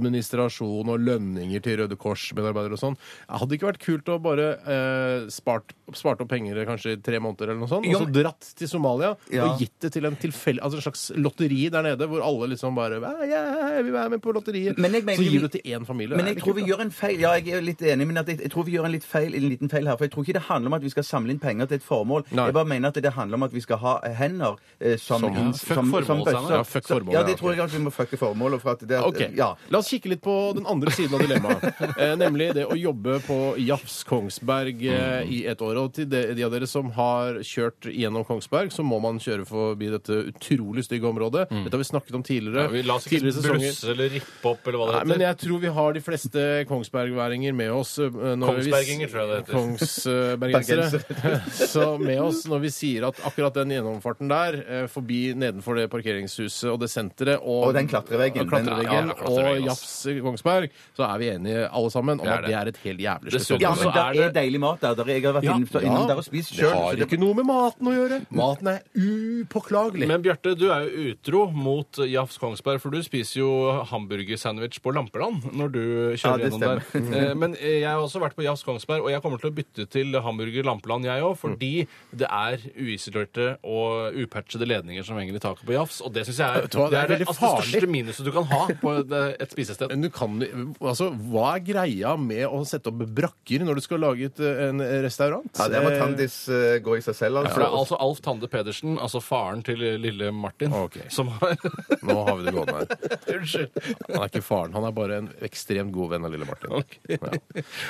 administrasjon og lønninger til Røde Kors-medarbeidere og sånn. Hadde det ikke vært kult å bare eh, spart, spart opp penger kanskje i tre måneder eller noe sånt,
Jo,
og så
men-
dratt til Somalia
Ja.
og gitt det til en tilfeldig altså en slags lotteri der nede, hvor alle liksom bare «Ja, ja, Jeg vil være med på lotteriet.
Men jeg mener-
så gir du til én familie. Det
Men
er
jeg
litt
tror vi
kult, da.
gjør en feil. Ja, jeg er jo litt enig, men at jeg, jeg tror vi gjør en, litt feil, en liten feil her. For jeg tror ikke det handler om at vi skal samle inn penger til et formål.
Nei.
Jeg bare mener at det handler om at vi skal ha hender eh, som,
Som-
inn-
Fuck
som, som
formålet,
bøsser.
Steinar. Ja, fuck
Så-
formålet,
ja,
ja,
det tror jeg at vi må fucke formålet for. At det, at-
Ok.
ja.
La oss kikke litt på den andre siden av dilemmaet. eh, nemlig det å jobbe på Jafs Kongsberg eh,
Mm.
i et år. Og til de, de av dere som har kjørt gjennom Kongsberg, så må man kjøre forbi dette utrolig stygge området.
Mm.
Dette har vi snakket om tidligere.
Ja, vi la oss ikke
tidligere sesonger.
blusse eller rippe opp eller hva det
Nei,
heter.
men jeg tror vi har de fleste kongsbergværinger med oss. eh, Når vi-
Kongsberginger, tror jeg det heter.
Kongsbergensere.
Bergensere.
Så med oss når vi sier at akkurat den gjennomfarten der, eh, forbi nedenfor det parkeringshuset og det senteret og,
Og den klatreveggen.
og, klatreveggen,
Den- ja, ja,
og
klatreveggen,
Jafs eh, Kongsberg, så er vi enige alle sammen om
Det er
at det er et helt jævlig
Det
slutt.
ja, men det er deilig mat der. der jeg har vært
Ja.
innom,
Ja.
innom der og spist
Det
sjøl.
har ikke noe med maten å gjøre. Maten er upåklagelig.
Men Bjarte, du er jo utro mot Jafs Kongsberg, for du spiser jo hamburgersandwich på Lampeland når du
Ja,
kjører
det
gjennom der.
stemmer.
Eh, Men jeg har også vært på Jafs Kongsberg, og jeg kommer til å bytte til hamburger Lampeland, jeg òg, fordi
Mm.
det er uisolerte og upatchede ledninger som henger i taket på Jafs, og det syns jeg er
Vet du hva, det er
det,
veldig
altså, det
farlig.
største minuset du kan ha på et, eh, et spisested.
Men du kan, altså, hva er greia med å sette opp brakker når du skal lage et, eh, en restaurant?
Ja, der må
Eh,
Tandis eh, gå i seg selv,
For
altså.
det er altså Alf Tande Pedersen, altså faren til lille Martin, som har
Nå har vi det gående her.
Unnskyld.
Han er ikke faren, han er bare en ekstremt god venn av lille Martin.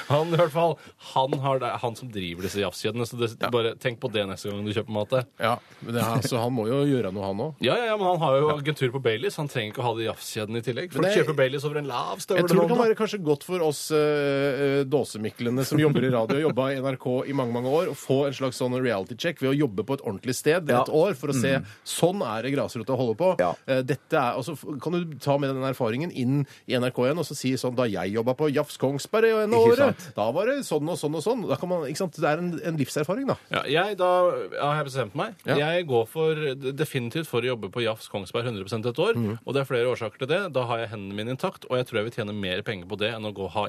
Han, i hvert fall, han, har det, han som driver disse jafskjedene, så det, bare tenk på det neste gang du kjøper mat der.
Ja, men det er, altså, han må jo gjøre noe, han òg.
Ja, ja, ja, men han har jo agentur på Baileys. Han trenger ikke å ha de jafskjedene i tillegg. Folk
Men jeg-
kjøper Baileys over en lav
Jeg
støvel.
tror det kan være kanskje godt for oss eh, eh, dåsemiklene som jobber i radio og jobba i NRK i mange mange år, å få en slags sånn reality check ved å jobbe på et ordentlig sted
Ja.
et år for å se
Mm.
sånn er det grasrota holder på. Eh, dette er, og så f- kan du ta med den erfaringen inn i NRK igjen og så si sånn da jeg jobba på Jafs Kongsberg i en
Ikke
året, da var det sånn og sånn og sånn. Da kan man, ikke sant? Det er en, en livserfaring, da.
Ja, jeg, da ja, har jeg bestemt meg.
Ja.
Jeg går for, definitivt for å jobbe på Jafs Kongsberg 100 et år.
Mhm.
Og det er flere årsaker til det. Da har jeg hendene mine intakt, og jeg tror jeg vil tjene mer penger på det enn å gå og ha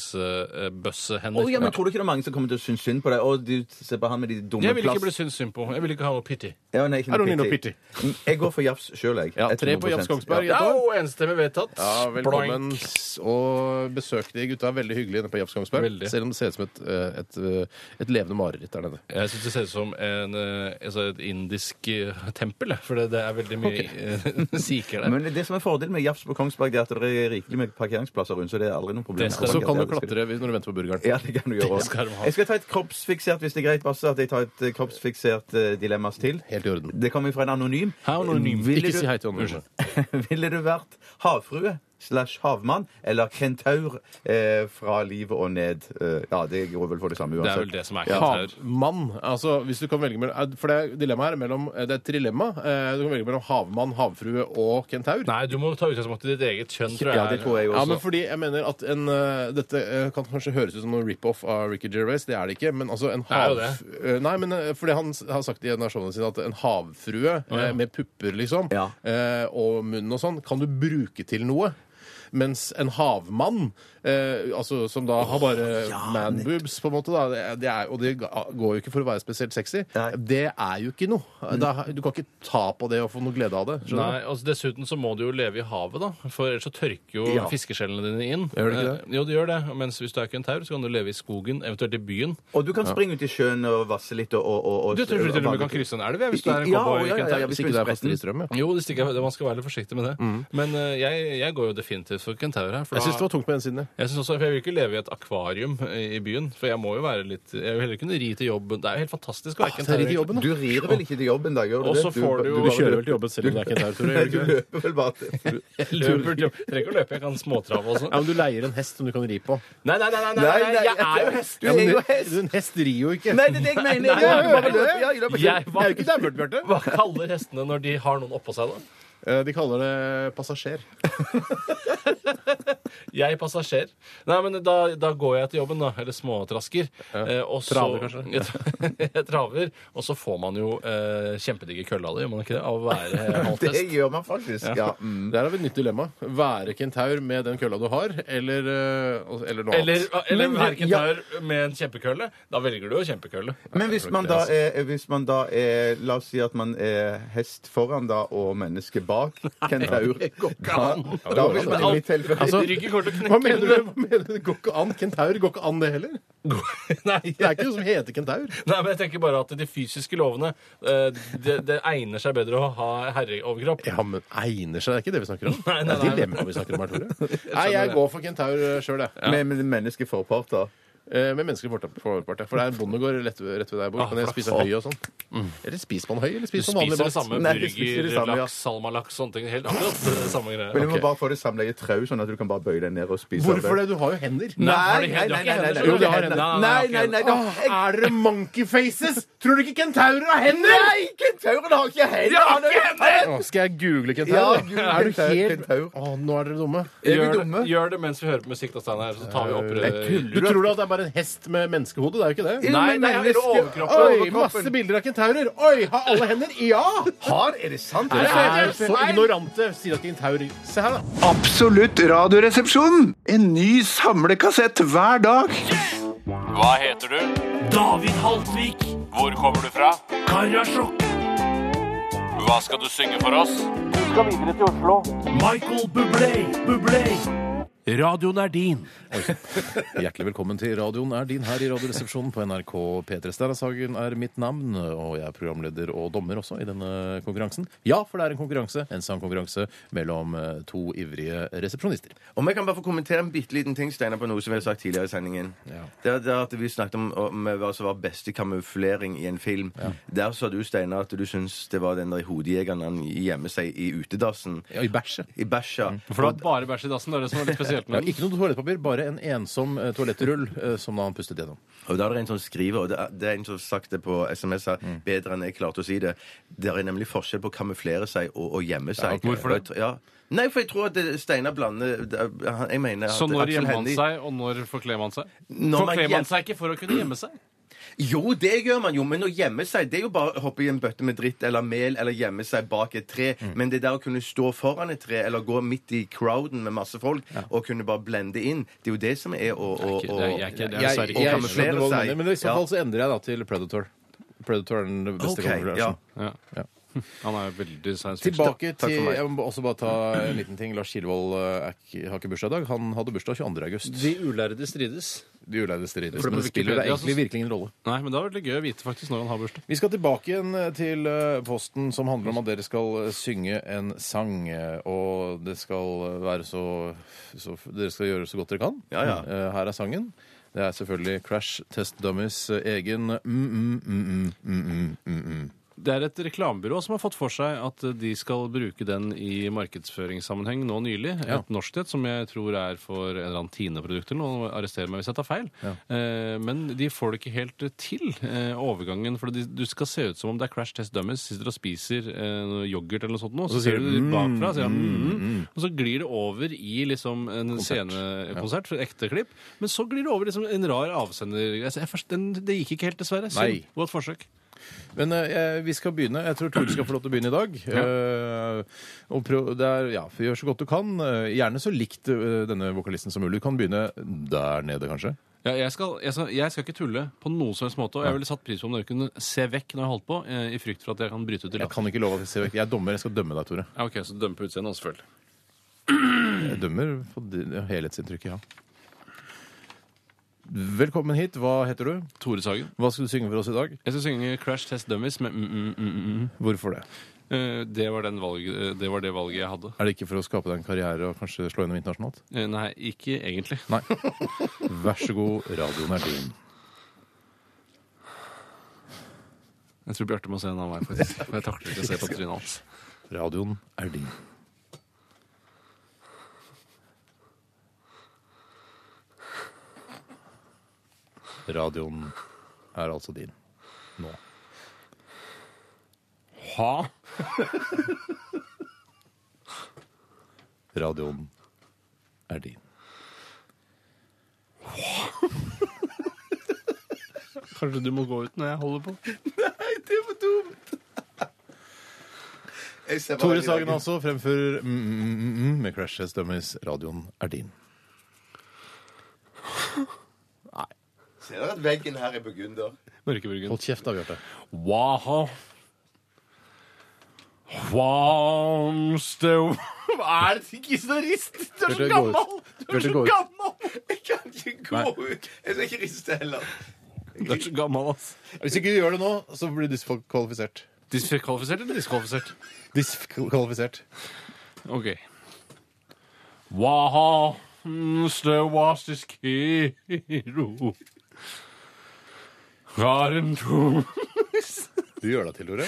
eh, innsamlingsbøssehender.
Å, ja, men Tror du ikke det er mange som kommer til å synes synd på deg? Å, du se på han med de dumme
jeg vil ikke
plass-
bli syntes synd på. Jeg vil ikke ha noe pity.
Ja, nei, ikke
I don't
noe
need no
pity. Mm, Jeg går for Jafs sjøl, jeg. Ja,
tre på Jafs Kongsberg,
Ja,
jeg
og enstemmig vedtatt.
Ja, velkommen s- og besøk de gutta. Veldig hyggelig inne på Jafs Kongsberg.
Veldig.
Selv om ser ut som et, eh, et, eh, et levende mareritt der nede.
Jeg syns det ser ut som en, eh, altså et indisk eh, tempel, jeg, for det, det er veldig mye eh, sikher der.
Men det som er fordelen med Jafs på Kongsberg, det er at det er rikelig med parkeringsplasser rundt, så det er aldri noe problem.
Det skal de- Så kan du klatre når du venter på burgeren.
Ja, det kan du gjøre.
Det skal de ha.
Jeg skal ta et kroppsfiksert, hvis det er greit, Basse, at jeg tar et eh, kroppsfiksert eh, dilemmas til.
Helt i orden.
Det kommer fra en anonym. Ville
Ikke
du-
si hei til Anne.
Ville du vært havfrue slash havmann eller kentaur eh, fra livet og ned? Eh, ja, det går vel for det samme uansett. Ja.
Havmann. Altså, hvis du kan velge mellom For det er dilemmaet her mellom Det er et dilemma. Eh, Du kan velge mellom havmann, havfrue og kentaur.
Nei, du må ta utgangspunkt i ditt eget kjønn, tror jeg.
Ja,
er-
Ja, men fordi jeg mener at en, eh, Dette eh, kan kanskje høres ut som noen rip-off av Ricky Gervais, det er det ikke. Men altså en
Det er jo
hav... Eh, Nei, men eh, fordi han s- har sagt i nasjonene sine at en havfrue eh,
Å, ja.
med pupper, liksom, eh, og munn og sånn, kan du bruke til noe. Mens en havmann, eh, altså, som da har bare man boobs, på en måte, da, det, det er, og det ga- går jo ikke for å være spesielt sexy, det er jo ikke noe. Da,
Mm.
du kan ikke ta på det og få noe glede av det. skjønner du?
Nei, altså Dessuten så må du jo leve i havet, da. For ellers så tørker jo
Ja.
fiskeskjellene dine inn.
Gjør det ikke det?
Eh, Jo, det gjør det. Mens hvis du er kentaur, så kan du leve i skogen, eventuelt i byen.
Og du kan springe ut i sjøen og vasse litt og, og, og, og
Du tror du til og med kan krysse en elv, ja, hvis du er en
Ja,
cowboy.
ja, ja, ja,
kentaur.
ja, hvis du er spretten.
Jo, det stikker, man skal være litt forsiktig med det. Men eh, jeg, jeg går jo definitivt for kentaur her. For
Mm. Jeg syns det var tungt på den siden. ja.
Jeg, synes også, for jeg vil ikke leve i et akvarium i i byen, for jeg må jo være litt Jeg vil heller kunne ri til jobben. Det er jo helt fantastisk Ah, å være kentaur.
Du rir vel ikke til jobben, da? Gjør du
Og så
det?
får du jo- Du kjører vel til jobben selv om det er kentaur, tror jeg, gjør du ikke det?
Du løper vel bare til
Jeg løper til jobb. Trenger ikke å løpe, jeg kan småtrave også.
Ja, men du leier en hest som du kan ri på.
Nei, nei, nei, nei, nei,
Nei, nei,
jeg er jo hest!
Ja, men du- En hest rir jo ikke.
Nei, det er det jeg mener. Jeg gjør jo det.
Jeg gjør det.
Jeg
Jeg er jo ikke dammert, Bjarte.
Hva kaller hestene når de har noen oppå seg, da?
Eh, De kaller det passasjer.
Jeg passasjer. Nei, men da, da går jeg til jobben, da. Eller småtrasker. Eh, og så-
Traver, kanskje?
Jeg, traver. Og så får man jo eh, kjempedigge kølla di, gjør man ikke det? Av å være halvt hest.
gjør man faktisk,
ja.
Der har vi et nytt dilemma. Være kentaur med den kølla du har, eller, eh, eller noe
Eller,
annet.
eller
Men-
verken
ja.
tar med en kjempekølle. Da velger du jo kjempekølle.
Men hvis man
altså.
da
altså.
er, hvis man da er La oss si at man er hest foran da og menneske bak kentaur.
det sånn går ikke
Da,
an.
da vil man i mitt tilfelle
Altså, hva mener du? Hva mener du? Det går ikke an. Kentaur går ikke an, det heller. Det er ikke noe som heter kentaur.
Nei, men jeg tenker bare at de fysiske lovene eh, det, det egner seg bedre å ha herreoverkropp.
Ja, men egner seg. Det er ikke det vi snakker om.
Nei, nei,
Det er
nei.
dilemma vi snakker om her, Tore. Nei,
skjønner
jeg
det.
går for kentaur sjøl, jeg.
Med, med menneskelig forpart, da.
Eh, Med menneskelig fortap- forpart, ja. For det er en bondegård rett, ved- rett ved der jeg bor.
Ah,
Kan jeg
flaks.
spise høy og sånn? Eller spiser man høy, eller
Du
spiser
spiser
man vanlig
det
mat?
samme.
Nei, jeg spiser
Burger,
det samme, ja.
laks, salmalaks, sånne ting. Helt akkurat det samme greia.
Men du må bare få det samla i et trau, sånn at du kan bare bøye deg ned og spise av
Hvorfor det? Du har jo hender.
Nei, har de hender? Du har ikke hender,
Jo,
skjønner du.
de har hender.
Nei, nei, nei, nei, nei.
Åh, Ah. Er dere monkeyfaces? Tror du ikke kentaurer har hender?
Nei, kentauren har ikke hender!
De har ikke hender! Åh, skal jeg google
Ja,
kentaur?
google
er du
kentaur,
helt Åh, nå er dere dumme.
Gjør det, gjør det mens vi hører på musikk, da, Steinar. Så tar vi opp
Eh, Du tror da at det er bare en hest med menneskehode? Det er jo ikke det.
Nei, nei, eller overkroppen.
Oi,
Overkroppen.
masse bilder av kentaurer. Oi, har alle hender? Ja!
Har? Er det sant?
Er
Nei.
det så ignorante? Sier at kentaurer Se her, da.
Absolutt radioresepsjon! En ny samlekassett hver dag.
Hva heter du? David Haltvik. Hvor kommer du fra? Karasjok. Hva skal du
eh,
synge for oss? Du skal videre til Oslo. Michael Bublé, Bublé. Radioen er din.
Hjertelig velkommen til radioen er din her i Radioresepsjonen på NRK P3. Steinersagen er mitt navn, og jeg er programleder og dommer også i denne konkurransen. Ja, for det er en konkurranse, en sangkonkurranse mellom eh, to ivrige resepsjonister.
Om jeg kan bare få kommentere en bitte liten ting Steiner, på noe som vi har sagt tidligere i sendingen. Det, er- det er at Vi snakket om, om hva som var beste kamuflering i en film. Der sa du, Steinar, at du syns det var den der hodejegeren han gjemmer seg i utedassen.
Ja, I bæsjet. Mm.
I bæsja.
For det var bare bæsj i dassen. Det er det som er litt spesielt
Ja,
med den.
ikke noe toalettpapir, bare en ensom eh, toalettrull eh, som da han pustet gjennom.
Og da er det en som skriver, og det er, det er en som har sagt det på SMS her, bedre enn jeg klarte å si det. Det er nemlig forskjell på å kamuflere seg og å gjemme seg.
ok. Hvorfor det?
Og jeg tr- Ja. Nei, for jeg tror at det- Steinar blander det er- han- Jeg mener at
Så Sånn når
Aksel
gjemmer man
Hennie-
seg, og når forkler man seg?
Når man
Forkler
gjem-
man seg ikke for å kunne gjemme seg?
Jo, det gjør man jo, men å gjemme seg Det er jo bare å hoppe i en bøtte med dritt eller mel eller gjemme seg bak et tre. Men det der å kunne stå foran et tre eller gå midt i crowden med masse folk og kunne bare blende inn, det er jo det som er å, å, å,
jeg,
å
jeg
kamuflere
skjønner hva du
seg.
mener, men i så
Ja.
fall så endrer jeg da til sånn. Predator. Predator er den beste
Ok, ja.
kamuflasjen. Ja.
Han er veldig science fiction.
Tilbake
Takk
til
for meg.
Jeg må også bare ta en liten ting. Lars Kilevold eh, er ikke- har ikke bursdag i dag. Han hadde bursdag 22. august.
De ulærde strides.
De ulærde strides.
For det
Men
på
det spiller det
Wikipedia
egentlig
så-
virkelig ingen rolle.
Nei, men det er veldig gøy å vite faktisk når han har bursdag.
Vi skal tilbake igjen til eh, posten som handler om at dere skal eh, synge en sang. eh, Og det skal eh, være så, så Dere skal gjøre så godt dere kan.
Ja, ja.
Eh, Her er sangen. Det er selvfølgelig Crash Test Dummies eh, egen mm, mm-mm-mm-mm-mm-mm.
Det er et reklamebyrå som har fått for seg at eh, de skal bruke den i markedsføringssammenheng nå nylig.
Ja.
Et norsk et som jeg tror er for en eller annen Tine-produkt eller noe. Arrester meg hvis jeg tar feil. Eh, Men de får det ikke helt eh, til, eh, overgangen. For de, du skal se ut som om det er Crash Test Dummies. Sitter og spiser eh, noe yoghurt eller noe sånt, nå,
Og
så,
så sier
ser
du,
du bakfra, sier, han,
mm,
mm, mm. og så glir det over i liksom en scenekonsert, et ekte klipp. Men så glir det over i liksom en rar avsender. Altså, jeg, forst- den, det gikk ikke helt, dessverre.
Nei.
Synd. Godt forsøk.
Men eh, vi skal begynne. Jeg tror Tore skal få lov til å begynne i dag. Eh, og prøv, det er, ja, Gjør så godt du kan. Eh, Gjerne så likt eh, denne vokalisten som mulig. Du kan begynne der nede, kanskje.
Ja, jeg, skal, jeg, skal, jeg skal ikke tulle på noen som helst måte. Og jeg ville satt pris på om dere kunne se vekk når jeg holdt på, eh, i frykt for at jeg kan bryte ut i
Jeg kan ikke love at jeg ser vekk. Jeg er dommer. Jeg skal dømme deg, Tore.
Ja, ok, Så dømme på utseendet, også, selvfølgelig.
Jeg dømmer på din- ja, helhetsinntrykket, ja. Velkommen hit. Hva heter du?
Tore Sagen.
Hva skal du synge for oss i dag?
Jeg skal synge Crash Test Dummies med mm, mm-mm-mm.
Hvorfor det?
Det, var den valg, eh, det var det valget jeg hadde.
Er det ikke for å skape deg en karriere og kanskje slå gjennom internasjonalt?
Eh, Nei, ikke egentlig.
Nei. Vær så god, radioen er din.
Jeg tror Bjarte må se en annen vei, faktisk. For jeg takler ikke å se på trynet hans.
Radioen er din. Radioen er altså din. Nå.
Ha?
Radioen er din.
Kanskje du må gå ut når jeg holder på?
Nei, det var dumt! Jeg ser bare
Tore
i
Sagen
dagen.
altså fremfører mm, mm, mm, mm, med Crash Test Dummies. Radioen er din.
Ser dere at veggen her er burgunder?
Mørkeburgen.
Hold kjeft, da, Bjarte.
Waha. Wamstøv.
Hva er det ikke så rist? Du er så
Bjarte, gå ut.
gammel! Du er
Bjarte,
så
gå ut.
gammel!
Jeg kan ikke gå ut. Jeg skal ikke riste heller.
Du er så gammel, ass.
Hvis ikke du gjør det nå, så blir du diskvalifisert.
Diskvalifisert eller diskvalifisert?
Diskvalifisert.
OK. Waha. Mr. Wastis Kiro. Karen Thomas.
Du gjør deg til, Tore.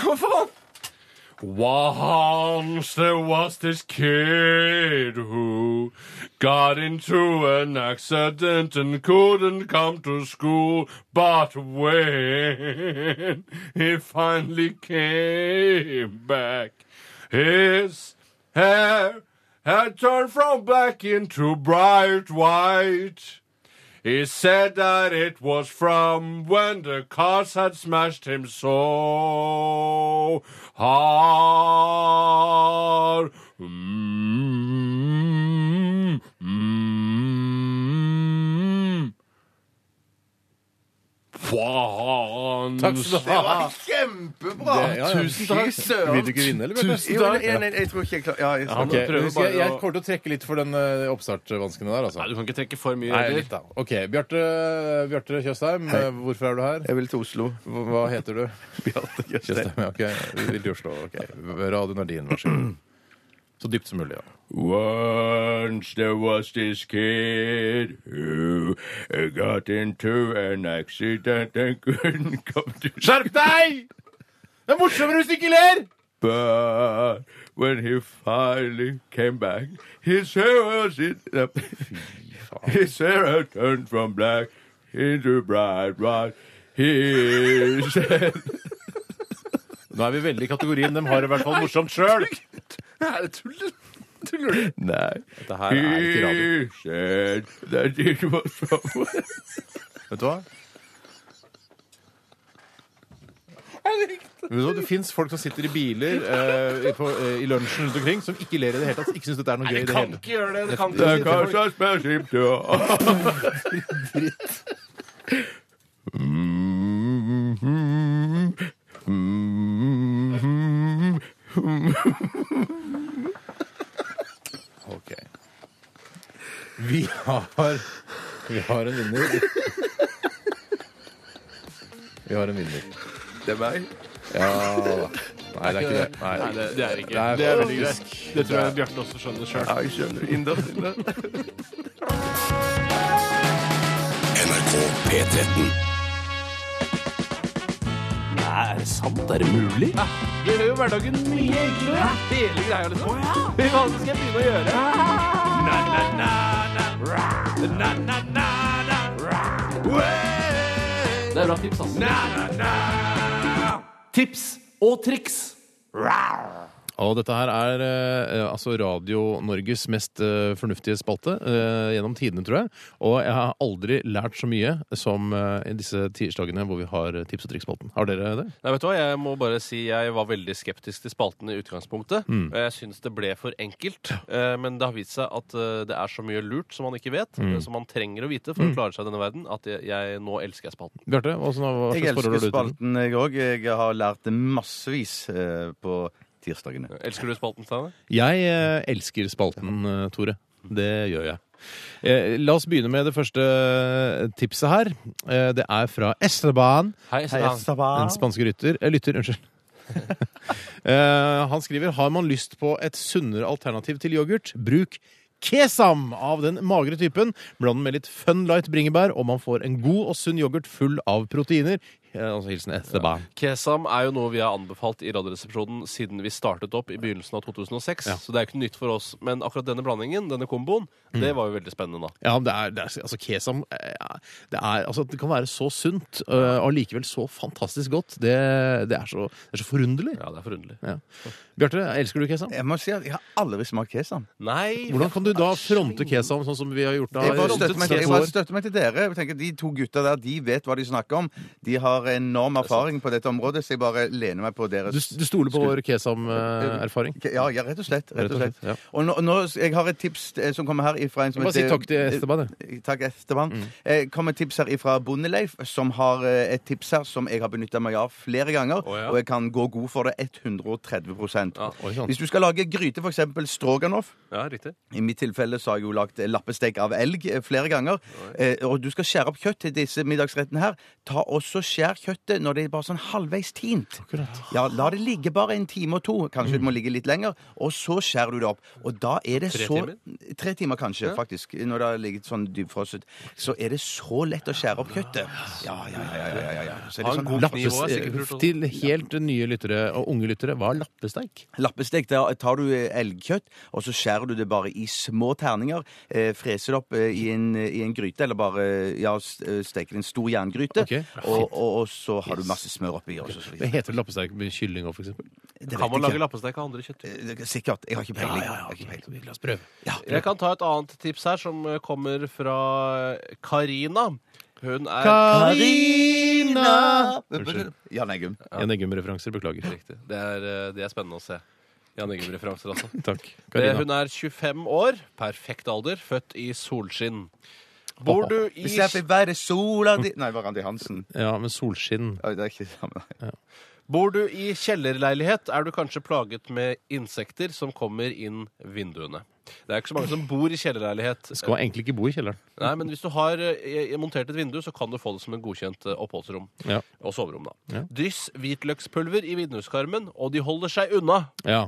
Hva faen? Once there was this kid who got into an accident and couldn't come to school. But when he finally came back, his hair had turned from black into bright white. He said that it was from when the cars had smashed him so hard. Mm, mm. Faen.
Takk skal du ha. Det var kjempebra!
Det- ja, ja.
Tusen
Fy
takk.
søren. Vil du ikke vinne, eller, Bjarte?
Tusen takk. Jo, jeg, jeg, jeg tror ikke jeg klarer ja, jeg,
Ok, jeg, skal- jeg kommer til å trekke litt for den eh, oppstartsvanskene der, altså.
Du kan ikke trekke for mye.
Nei,
heller.
litt da. Ok, Bjarte, Bjarte Tjøstheim, eh, hvorfor er du her?
Jeg vil til Oslo.
Hva, hva heter du? Bjarte Tjøstheim. Ja, ok. Du vil til Oslo, ok. Radioen er din, vær så god. Så dypt som mulig, ja.
Once there was this kid who uh, got into an accident and couldn't come to
Skjerp deg! Det er morsommere hvis du ikke ler!
But when he finally came back, his hair was in, his hair had turned from black into bright white. He said,
Nå er vi veldig i kategorien dem har det i hvert fall morsomt sjøl.
Er det tull? Tuller du? Nei.
Dette her er ikke
He
radio.
said that it was from
Vet du hva? Vet du hva? Det fins folk som sitter i biler eh, i- på, eh, i lunsjen rundt omkring, som ikke ler i det hele tatt. Ikke syns dette er noe gøy. i det hele tatt.
gjøre det.
det kan ikke.
Det kan ikke spørre seg Dritt.
OK. Vi har Vi har en vinner. Vi har en vinner.
Det er meg?
Ja Nei, det er ikke det. Nei,
Nei, det, det er ikke
Det er
Det er veldig
faktisk-
greit. Det tror jeg Bjarte også skjønner sjøl.
Ja, jeg skjønner. Inder, inder.
NRK P13.
Nei, er det sant? Er det mulig?
Ja, det gjør jo hverdagen mye enklere. Hele greia, liksom. Hva skal jeg begynne å gjøre? Na, na, na, na. Na, na, na, na. Det er bra tips, altså. Tips og triks.
Og dette her er eh, altså Radio Norges mest eh, fornuftige spalte eh, gjennom tidene, tror jeg. Og jeg har aldri lært så mye som eh, i disse tirsdagene hvor vi har eh, tips- og triksspalten. Har dere det?
Nei, vet du hva? Jeg må bare si jeg var veldig skeptisk til spalten i utgangspunktet.
Mm.
Og jeg syns det ble for enkelt. Eh, Men det har vist seg at eh, det er så mye lurt som man ikke vet,
Mm.
eh, som man trenger å vite for å klare seg i denne verden, at jeg, jeg nå elsker jeg spalten.
Bjarte, hva slags forhold
Jeg elsker
har du til den?
spalten, jeg òg. Jeg har lært det massevis eh, på tirsdagene.
Elsker du spalten, Steinar?
Jeg eh, elsker spalten, eh, Tore. Det gjør jeg. Eh, la oss begynne med det første tipset her. Eh, det er fra Esteban.
Hei, Esteban. Hei, Esteban.
Den spanske rytter. Eh, lytter, unnskyld. eh, han skriver Har man lyst på et sunnere alternativ til yoghurt, bruk Kesam av den magre typen. Bland den med litt Fun Light bringebær, og man får en god og sunn yoghurt full av proteiner. Eh, altså hilsen Esteban.
Kesam er jo noe vi har anbefalt i Radioresepsjonen siden vi startet opp i begynnelsen av 2006.
Ja.
Så det er jo ikke nytt for oss. Men akkurat denne blandingen, denne komboen,
Mm.
det var jo veldig spennende da.
Ja, men det er, det er altså kesam eh, ja, det, er, altså, det kan være så sunt eh, og likevel så fantastisk godt. Det, det, er, så, det er så forunderlig.
Ja, det er forunderlig.
Ja. Bjarte, elsker du kesam?
Jeg må si at jeg har aldri smakt kesam.
Nei,
Hvordan kan du da fronte kesam sånn som vi har gjort da?
Jeg bare støtter meg, til- jeg bare
år?
støtter meg til dere. Jeg tenker, De to gutta der de vet hva de snakker om. De har enorm erfaring på dette området, så jeg bare lener meg på deres
Du, du stoler på vår eh, kesam-erfaring?
Ja, ja, rett og slett. Rett og slett.
ja.
Og nå, nå, jeg har et tips eh, som kommer her ifra en som
Bare si takk til Esteban, Mm.
Eh, Takk, Esteban. Eh, kommer et tips her ifra Bondeleif, som har eh, et tips her som jeg har benytta meg av flere ganger,
ja.
og jeg kan gå god for det 130
oi, sånn. sant.
Hvis du skal lage gryte, f.eks. stroganoff
Ja, riktig.
i mitt tilfelle så har jeg jo lagt lappestek av elg eh, flere ganger. Eh, og du skal skjære opp kjøtt til disse middagsrettene her. Ta også skjær kjøttet når det er bare sånn halvveis tint. Ja, La det ligge bare en time og to. Kanskje det må ligge litt lenger. Og så skjærer du det opp. Og da er det
Tre
så
timer?
Tre timer, kanskje,
Ja.
faktisk. Når det har ligget sånn dypfrosset. Så er det så lett å skjære opp kjøttet. Ja, ja, ja. ja, ja, ja. Så er det sånn-
Lappes, til helt nye lyttere og unge lyttere, hva er lappesteik?
Lappestek, da tar du eh, elgkjøtt, og så skjærer du det bare i små terninger. Eh, freser det opp eh, i, en, i en gryte, eller bare ja, s- eh, steker i en stor jerngryte. og, og, og så har du masse smør oppi. Og så, så
Det heter lappesteik med kylling òg, for eksempel?
Det
Kan
vet
man
jeg
lage
ikke.
lappesteik av andre kjøtt?
Eh, Sikkert. Jeg har ikke peiling. Jeg har ikke peiling.
La oss prøve.
Jeg kan ta et annet tips her, som eh, kommer fra eh, Karina. Hun er
Karina!
Unnskyld.
Jan Eggum.
Jan Eggum-referanser, beklager.
Riktig. Det er, eh, det er spennende å se. Jan Eggum-referanser, altså.
Takk.
Eh,
Karina.
Hun er 25 år, perfekt alder, født i solskinn. Bor du i
Hvis jeg fikk være sola di Nei, det var Randi Hansen.
Ja, men solskinn
Oi, Det er ikke det samme.
Bor du i kjellerleilighet, er du kanskje plaget med insekter som kommer inn vinduene. Det er ikke så mange som bor i kjellerleilighet.
Skal egentlig ikke bo i kjelleren.
Nei, men hvis du har eh, montert et vindu, så kan du få det som en godkjent eh, oppholdsrom.
Ja.
Og soverom, da.
Ja.
Dryss hvitløkspulver i vinduskarmen, og de holder seg unna.
Ja.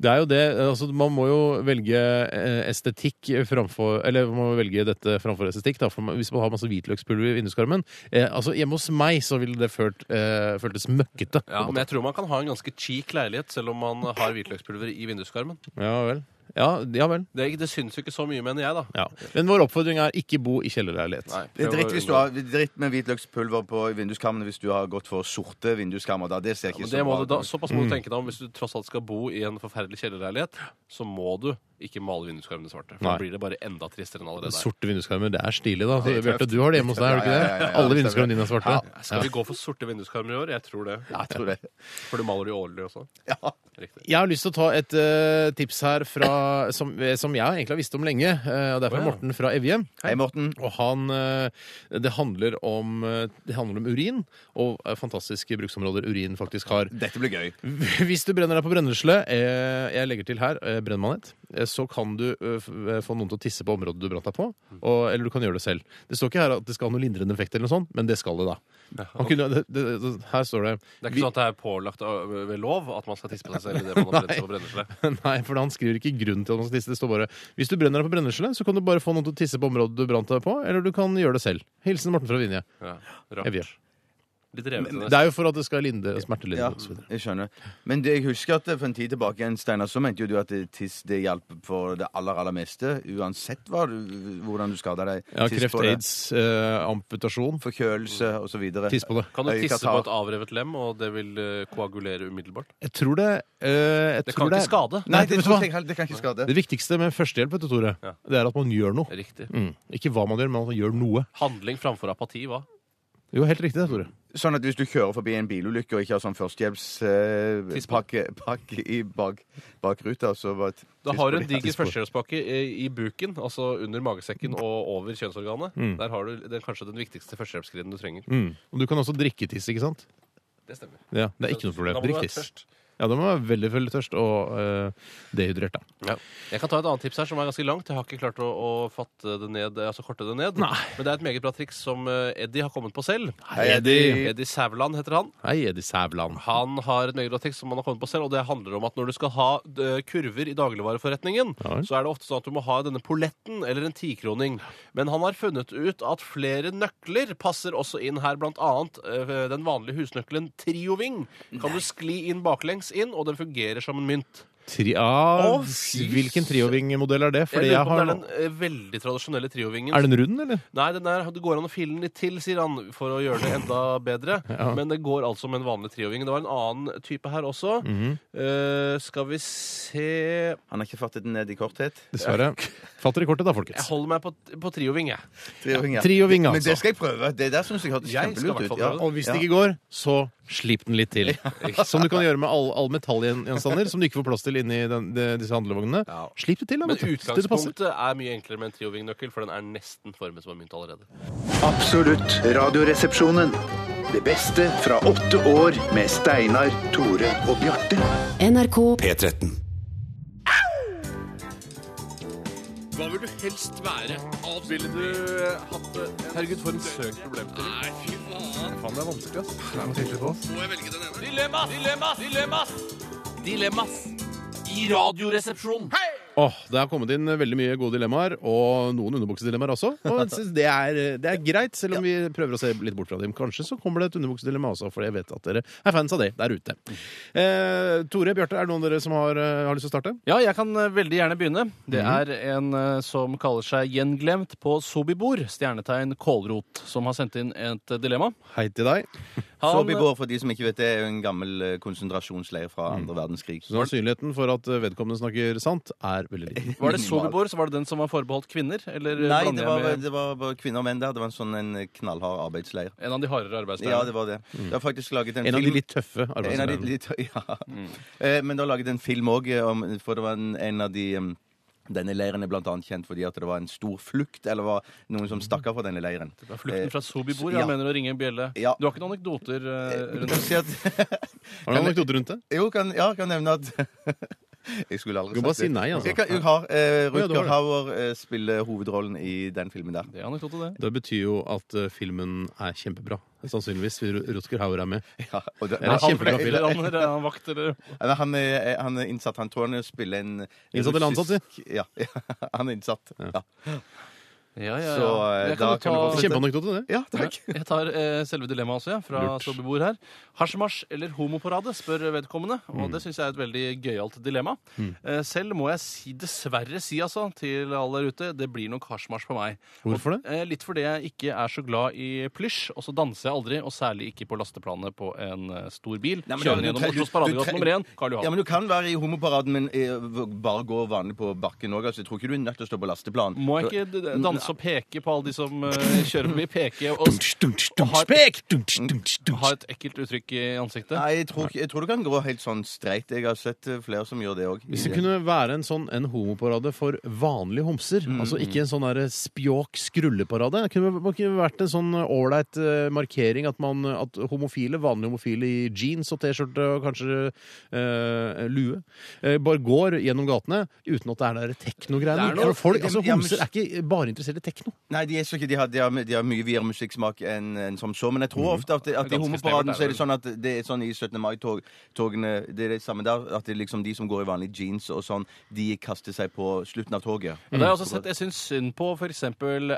Det er jo det. Altså, man må jo velge eh, estetikk framfor Eller man må velge dette framfor estetikk, da, for man- hvis man har masse hvitløkspulver i vinduskarmen. Eh, altså, hjemme hos meg så ville det følt, eh, føltes møkkete. på
Ja,
en måte.
men jeg tror man kan ha en ganske cheek leilighet selv om man har hvitløkspulver i vinduskarmen.
ja vel. Ja, ja vel.
Det, er ikke- det syns jo ikke så mye, mener jeg, da.
Ja. Men vår oppfordring er ikke bo i kjellerleilighet.
Det er dritt, hvis du har, dritt med hvitløkspulver på vinduskarmene hvis du har gått for sorte vinduskarmer. Da. Det ser
Ja,
ikke
men det
så
må
bra
du da,
ut.
såpass må du
Mm.
tenke deg om hvis du tross alt skal bo i en forferdelig kjellerleilighet, så må du Ikke male vinduskarmene svarte. For
Nei.
da blir det bare enda tristere enn allerede er.
Sorte vinduskarmer, det er stilig, da.
Ja, det er
Bjarte,
tøft.
du har det hjemme hos deg, har du
Ja,
ikke det?
ja, ja, ja, det
Alle
stemmer.
vinduskarmene dine er svarte.
Ja. Skal vi gå for sorte vinduskarmer i år? Jeg tror det.
jeg tror det.
For du maler jo årlig også. Riktig.
Jeg har lyst til å ta et eh, tips her fra, som, eh, som jeg egentlig har visst om lenge. eh, og Det er fra
Å, ja.
Morten fra Evje. Hei, Morten. Og han, eh, det, handler om, eh, det handler om urin, og eh, fantastiske bruksområder urin faktisk har.
Dette blir gøy.
Hvis du brenner deg på brennesle, eh, jeg legger til her eh, brennmanet, eh, så kan du eh, f- eh, få noen til å tisse på området du brant deg på, og, eller du kan gjøre det selv. Det står ikke her at det skal ha noen lindrende effekt, eller noe sånt, men det skal det da. Han kunne, det, det, det, her står det
Det er ikke sånn at det er pålagt av- ved lov at man skal tisse på seg selv idet man har brent seg på brennesle.
Nei, for han skriver ikke grunnen til at man skal tisse. Det står bare hvis du brenner deg på brennesle, så kan du bare få noen til å tisse på området du brant deg på, eller du kan gjøre det selv. Hilsen Morten fra Vinje.
Ja,
Jeg vil.
rart. Litt revete.
Det er jo for at det skal linde smertelindre.
Ja, jeg skjønner. Men det jeg husker at for en tid tilbake, igjen, Steinar, så mente jo du at det- tiss det hjalp for det aller, aller meste, uansett hva, du- hvordan du skada deg.
Ja,
Tiss
kreft,
på det.
aids, eh, amputasjon.
Forkjølelse osv.
Tiss på det.
Kan du tisse
Øyekatarr.
på et avrevet lem, og det vil eh, koagulere umiddelbart?
Jeg tror det eh, jeg
Det kan
tror
ikke skade.
Nei,
Nei, det
vet du
tror
hva?
jeg heller- det kan ikke skade.
Det viktigste med førstehjelp, vet du, Tore,
Ja.
det er at man gjør noe.
Riktig.
Mm. Ikke hva man gjør, men at man gjør noe.
Handling framfor apati, hva?
Jo, helt riktig det, Tore.
Sånn at hvis du kjører forbi en bilulykke og ikke har sånn førstehjelpspakke pakke i bak, bakruta, så bare t-
Da
tiss
har
på
du en
det.
diger
Tiss på-
førstehjelpspakke i, i buken, altså under magesekken og over kjønnsorganet.
Mm.
Der har du den, kanskje den viktigste førstehjelpsgrenen du trenger.
Mm. Og du kan også drikke tiss, ikke sant?
Det stemmer.
Ja, det er ikke noe problem.
Da må du
Drikk
være
tiss.
tørst.
Ja, da må man være veldig, veldig tørst og eh, dehydrert, da.
Ja. Jeg kan ta et annet tips her som er ganske langt. Jeg har ikke klart å, å fatte det ned, altså korte det ned. Men det er et meget bra triks som eh, Eddie har kommet på selv.
Hei, Eddie.
Eddie Sævland heter han.
Hei, Eddie Sævland.
Han har et meget bra triks som han har kommet på selv, og det handler om at når du skal ha eh, kurver i dagligvareforretningen, så er det ofte sånn at du må ha denne polletten eller en tikroning. Men han har funnet ut at flere nøkler passer også inn her, blant annet eh, den vanlige husnøkkelen Trioving. Kan du skli inn baklengs inn, og den fungerer som en mynt.
Tri ah,
Å, fy
hvilken triovingmodell er det? Fordi
jeg lurer
jeg
på om
har
det er den eh, veldig tradisjonelle triovingen.
Er den rund, eller?
Nei, den er, det går an å fille den litt til, sier han, for å gjøre det enda bedre.
Ja.
Men det går altså med en vanlig trioving. Det var en annen type her også.
Mhm.
Eh, skal vi se
Han har ikke fattet den ned i korthet?
Dessverre. Fatter i kortet, da,
Jeg
folkens.
holder meg på, på trioving, jeg.
Trioving, ja.
Trioving,
Men
altså.
det skal jeg prøve. Det der syns jeg hørtes
Jeg skal i
kjempelurt
hvert fall
ut. Ja.
prøve det.
Og hvis det ikke går, så slip den litt til. Som du kan gjøre med all, all metallgjenstander som du ikke får plass til inni den, de, disse handlevognene. Slip det til, da.
Men
vet du, til det passer.
utgangspunktet er mye enklere med en triovingnøkkel, for den er nesten formet som en mynt allerede.
Absolutt Radioresepsjonen. Det beste fra åtte år med Steinar, Tore og Bjarte.
NRK
P13.
Hva vil du helst være? Ville du Eh, hatt det? Herregud, for en søk problemstilling. Nei, fy faen.
Faen, det er vanskelig, ass. Det er noe tenkelig på oss.
Må jeg velge den ene? Dilemmas! Dilemmas! Dilemmas! Dilemmas i Radioresepsjonen. Hei!
Åh, Det har kommet inn veldig mye gode dilemmaer, og noen underbuksedilemmaer også. Og jeg synes det er, det er greit, selv om vi prøver å se litt bort fra dem. Kanskje så kommer det et underbuksedilemma også, for jeg vet at dere er fans av det der ute. Eh, Tore, Bjarte, er det noen av dere som har, eh, har lyst til å starte?
Ja, jeg kan eh, veldig gjerne begynne. Det
Mhm.
er en eh, som kaller seg Gjenglemt på Sobibor, stjernetegn kålrot, som har sendt inn et eh, dilemma.
Hei til deg.
Han-
Sobibor, for de som ikke vet det, er jo en gammel eh, konsentrasjonsleir fra
Mm.
andre verdenskrig.
Så sannsynligheten for at vedkommende snakker sant, er veldig liten.
eh, Var det Sobibor, så var det den som var forbeholdt kvinner? Eller eh,
Nei,
blander
det
jeg
var,
med-
det var bare kvinner og menn der. Det var en sånn en knallhard arbeidsleir.
En av de hardere arbeidsleirene.
Ja, det var det. Det har faktisk laget en,
Mm. En av de
film-
litt tøffe
En av de
arbeidsleirene.
litt, ja. Eh, Men det har laget en film òg, for det var en, en av de em, denne leiren er blant annet kjent fordi at det var en stor flukt, eller var noen som stakk av fra denne leiren.
Det var Flukten fra Sobibor, jeg
ja.
mener å ringe en bjelle. Du har ikke noen anekdoter eh, rundt
Si at-
Har du noen anekdoter rundt det?
Jo, kan, ja, kan nevne at Jeg skulle aldri
Du kan bare
sagt det.
si nei, altså.
Jeg, kan, jeg har eh,
Å, ja, du har
Rutger
det.
Hauer eh, spiller hovedrollen i den filmen der.
Det er anekdote, det.
Det betyr jo at eh, filmen er kjempebra. Sannsynligvis. fordi Rutger Hauer er med.
Ja, og det-
det er en kjempebra
Han
film.
flekter, han, eller er han vakt, eller
Nei, han, er, eh, han er innsatt. Han tror han spiller en
Innsatt eller ansatt,
russisk- Ja, ja, han er innsatt. Ja.
Ja, ja, ja.
Så eh,
Jeg
da
jo
kan du
ta-
fortsette. Ja, takk.
Ja, Jeg tar eh, selve dilemmaet også, jeg, fra
Lurt.
Tobbebord her. Hasjmarsj eller homoparade, spør vedkommende. Og det syns jeg er et veldig gøyalt dilemma.
Mm.
Eh, Selv må jeg si, dessverre si altså, til alle der ute, det blir nok hasjmarsj på meg.
Hvorfor det?
Eh, Litt fordi jeg ikke er så glad i plysj, og så danser jeg aldri, og særlig ikke på lasteplanet på en eh, stor bil.
Nei, men
Kjører
du-
gjennom
du-
Oslos
du-
paradegate
du-
nummer én, Karl Johan.
Ja, men Du kan være i homoparaden, men eh, v- bare gå vanlig på bakken òg. Altså, jeg tror ikke du er nødt til å stå på lasteplan.
Må jeg ikke d- d- danse og peke på alle de som eh, kjører forbi? Peke og, og ha, et, ha et ekkelt uttrykk i eh, ansiktet?
Nei, jeg tror, ikke- jeg tror du kan gå helt sånn streit. Jeg har sett eh, flere som gjør det òg.
Hvis det kunne være en sånn en homoparade for vanlige homser, altså ikke en sånn der spjåk skrulleparade Det kunne, det kunne vært en sånn ålreit eh, markering at, man, at homofile, vanlige homofile i jeans og T-skjorte og kanskje eh, lue, eh, bare går gjennom gatene uten at det er der teknogreiene.
Det er noe-
For Folk, altså,
Ja, men-
homser er ikke bare interessert i tekno.
Nei, de, er så ikke, de, har, de, har, de har mye videre musikksmak enn enn som så, men jeg tror
Mhm.
ofte at, at
Det er
i
ganske
homoparaden
snevert,
så er det
er
sånn at det er sånn i 17. mai-togene Det er det samme der, at det er liksom de som går i vanlige jeans og sånn, de kaster seg på slutten av toget.
Ja, Det har jeg
Mm.
også sett. Jeg syns synd på f.eks.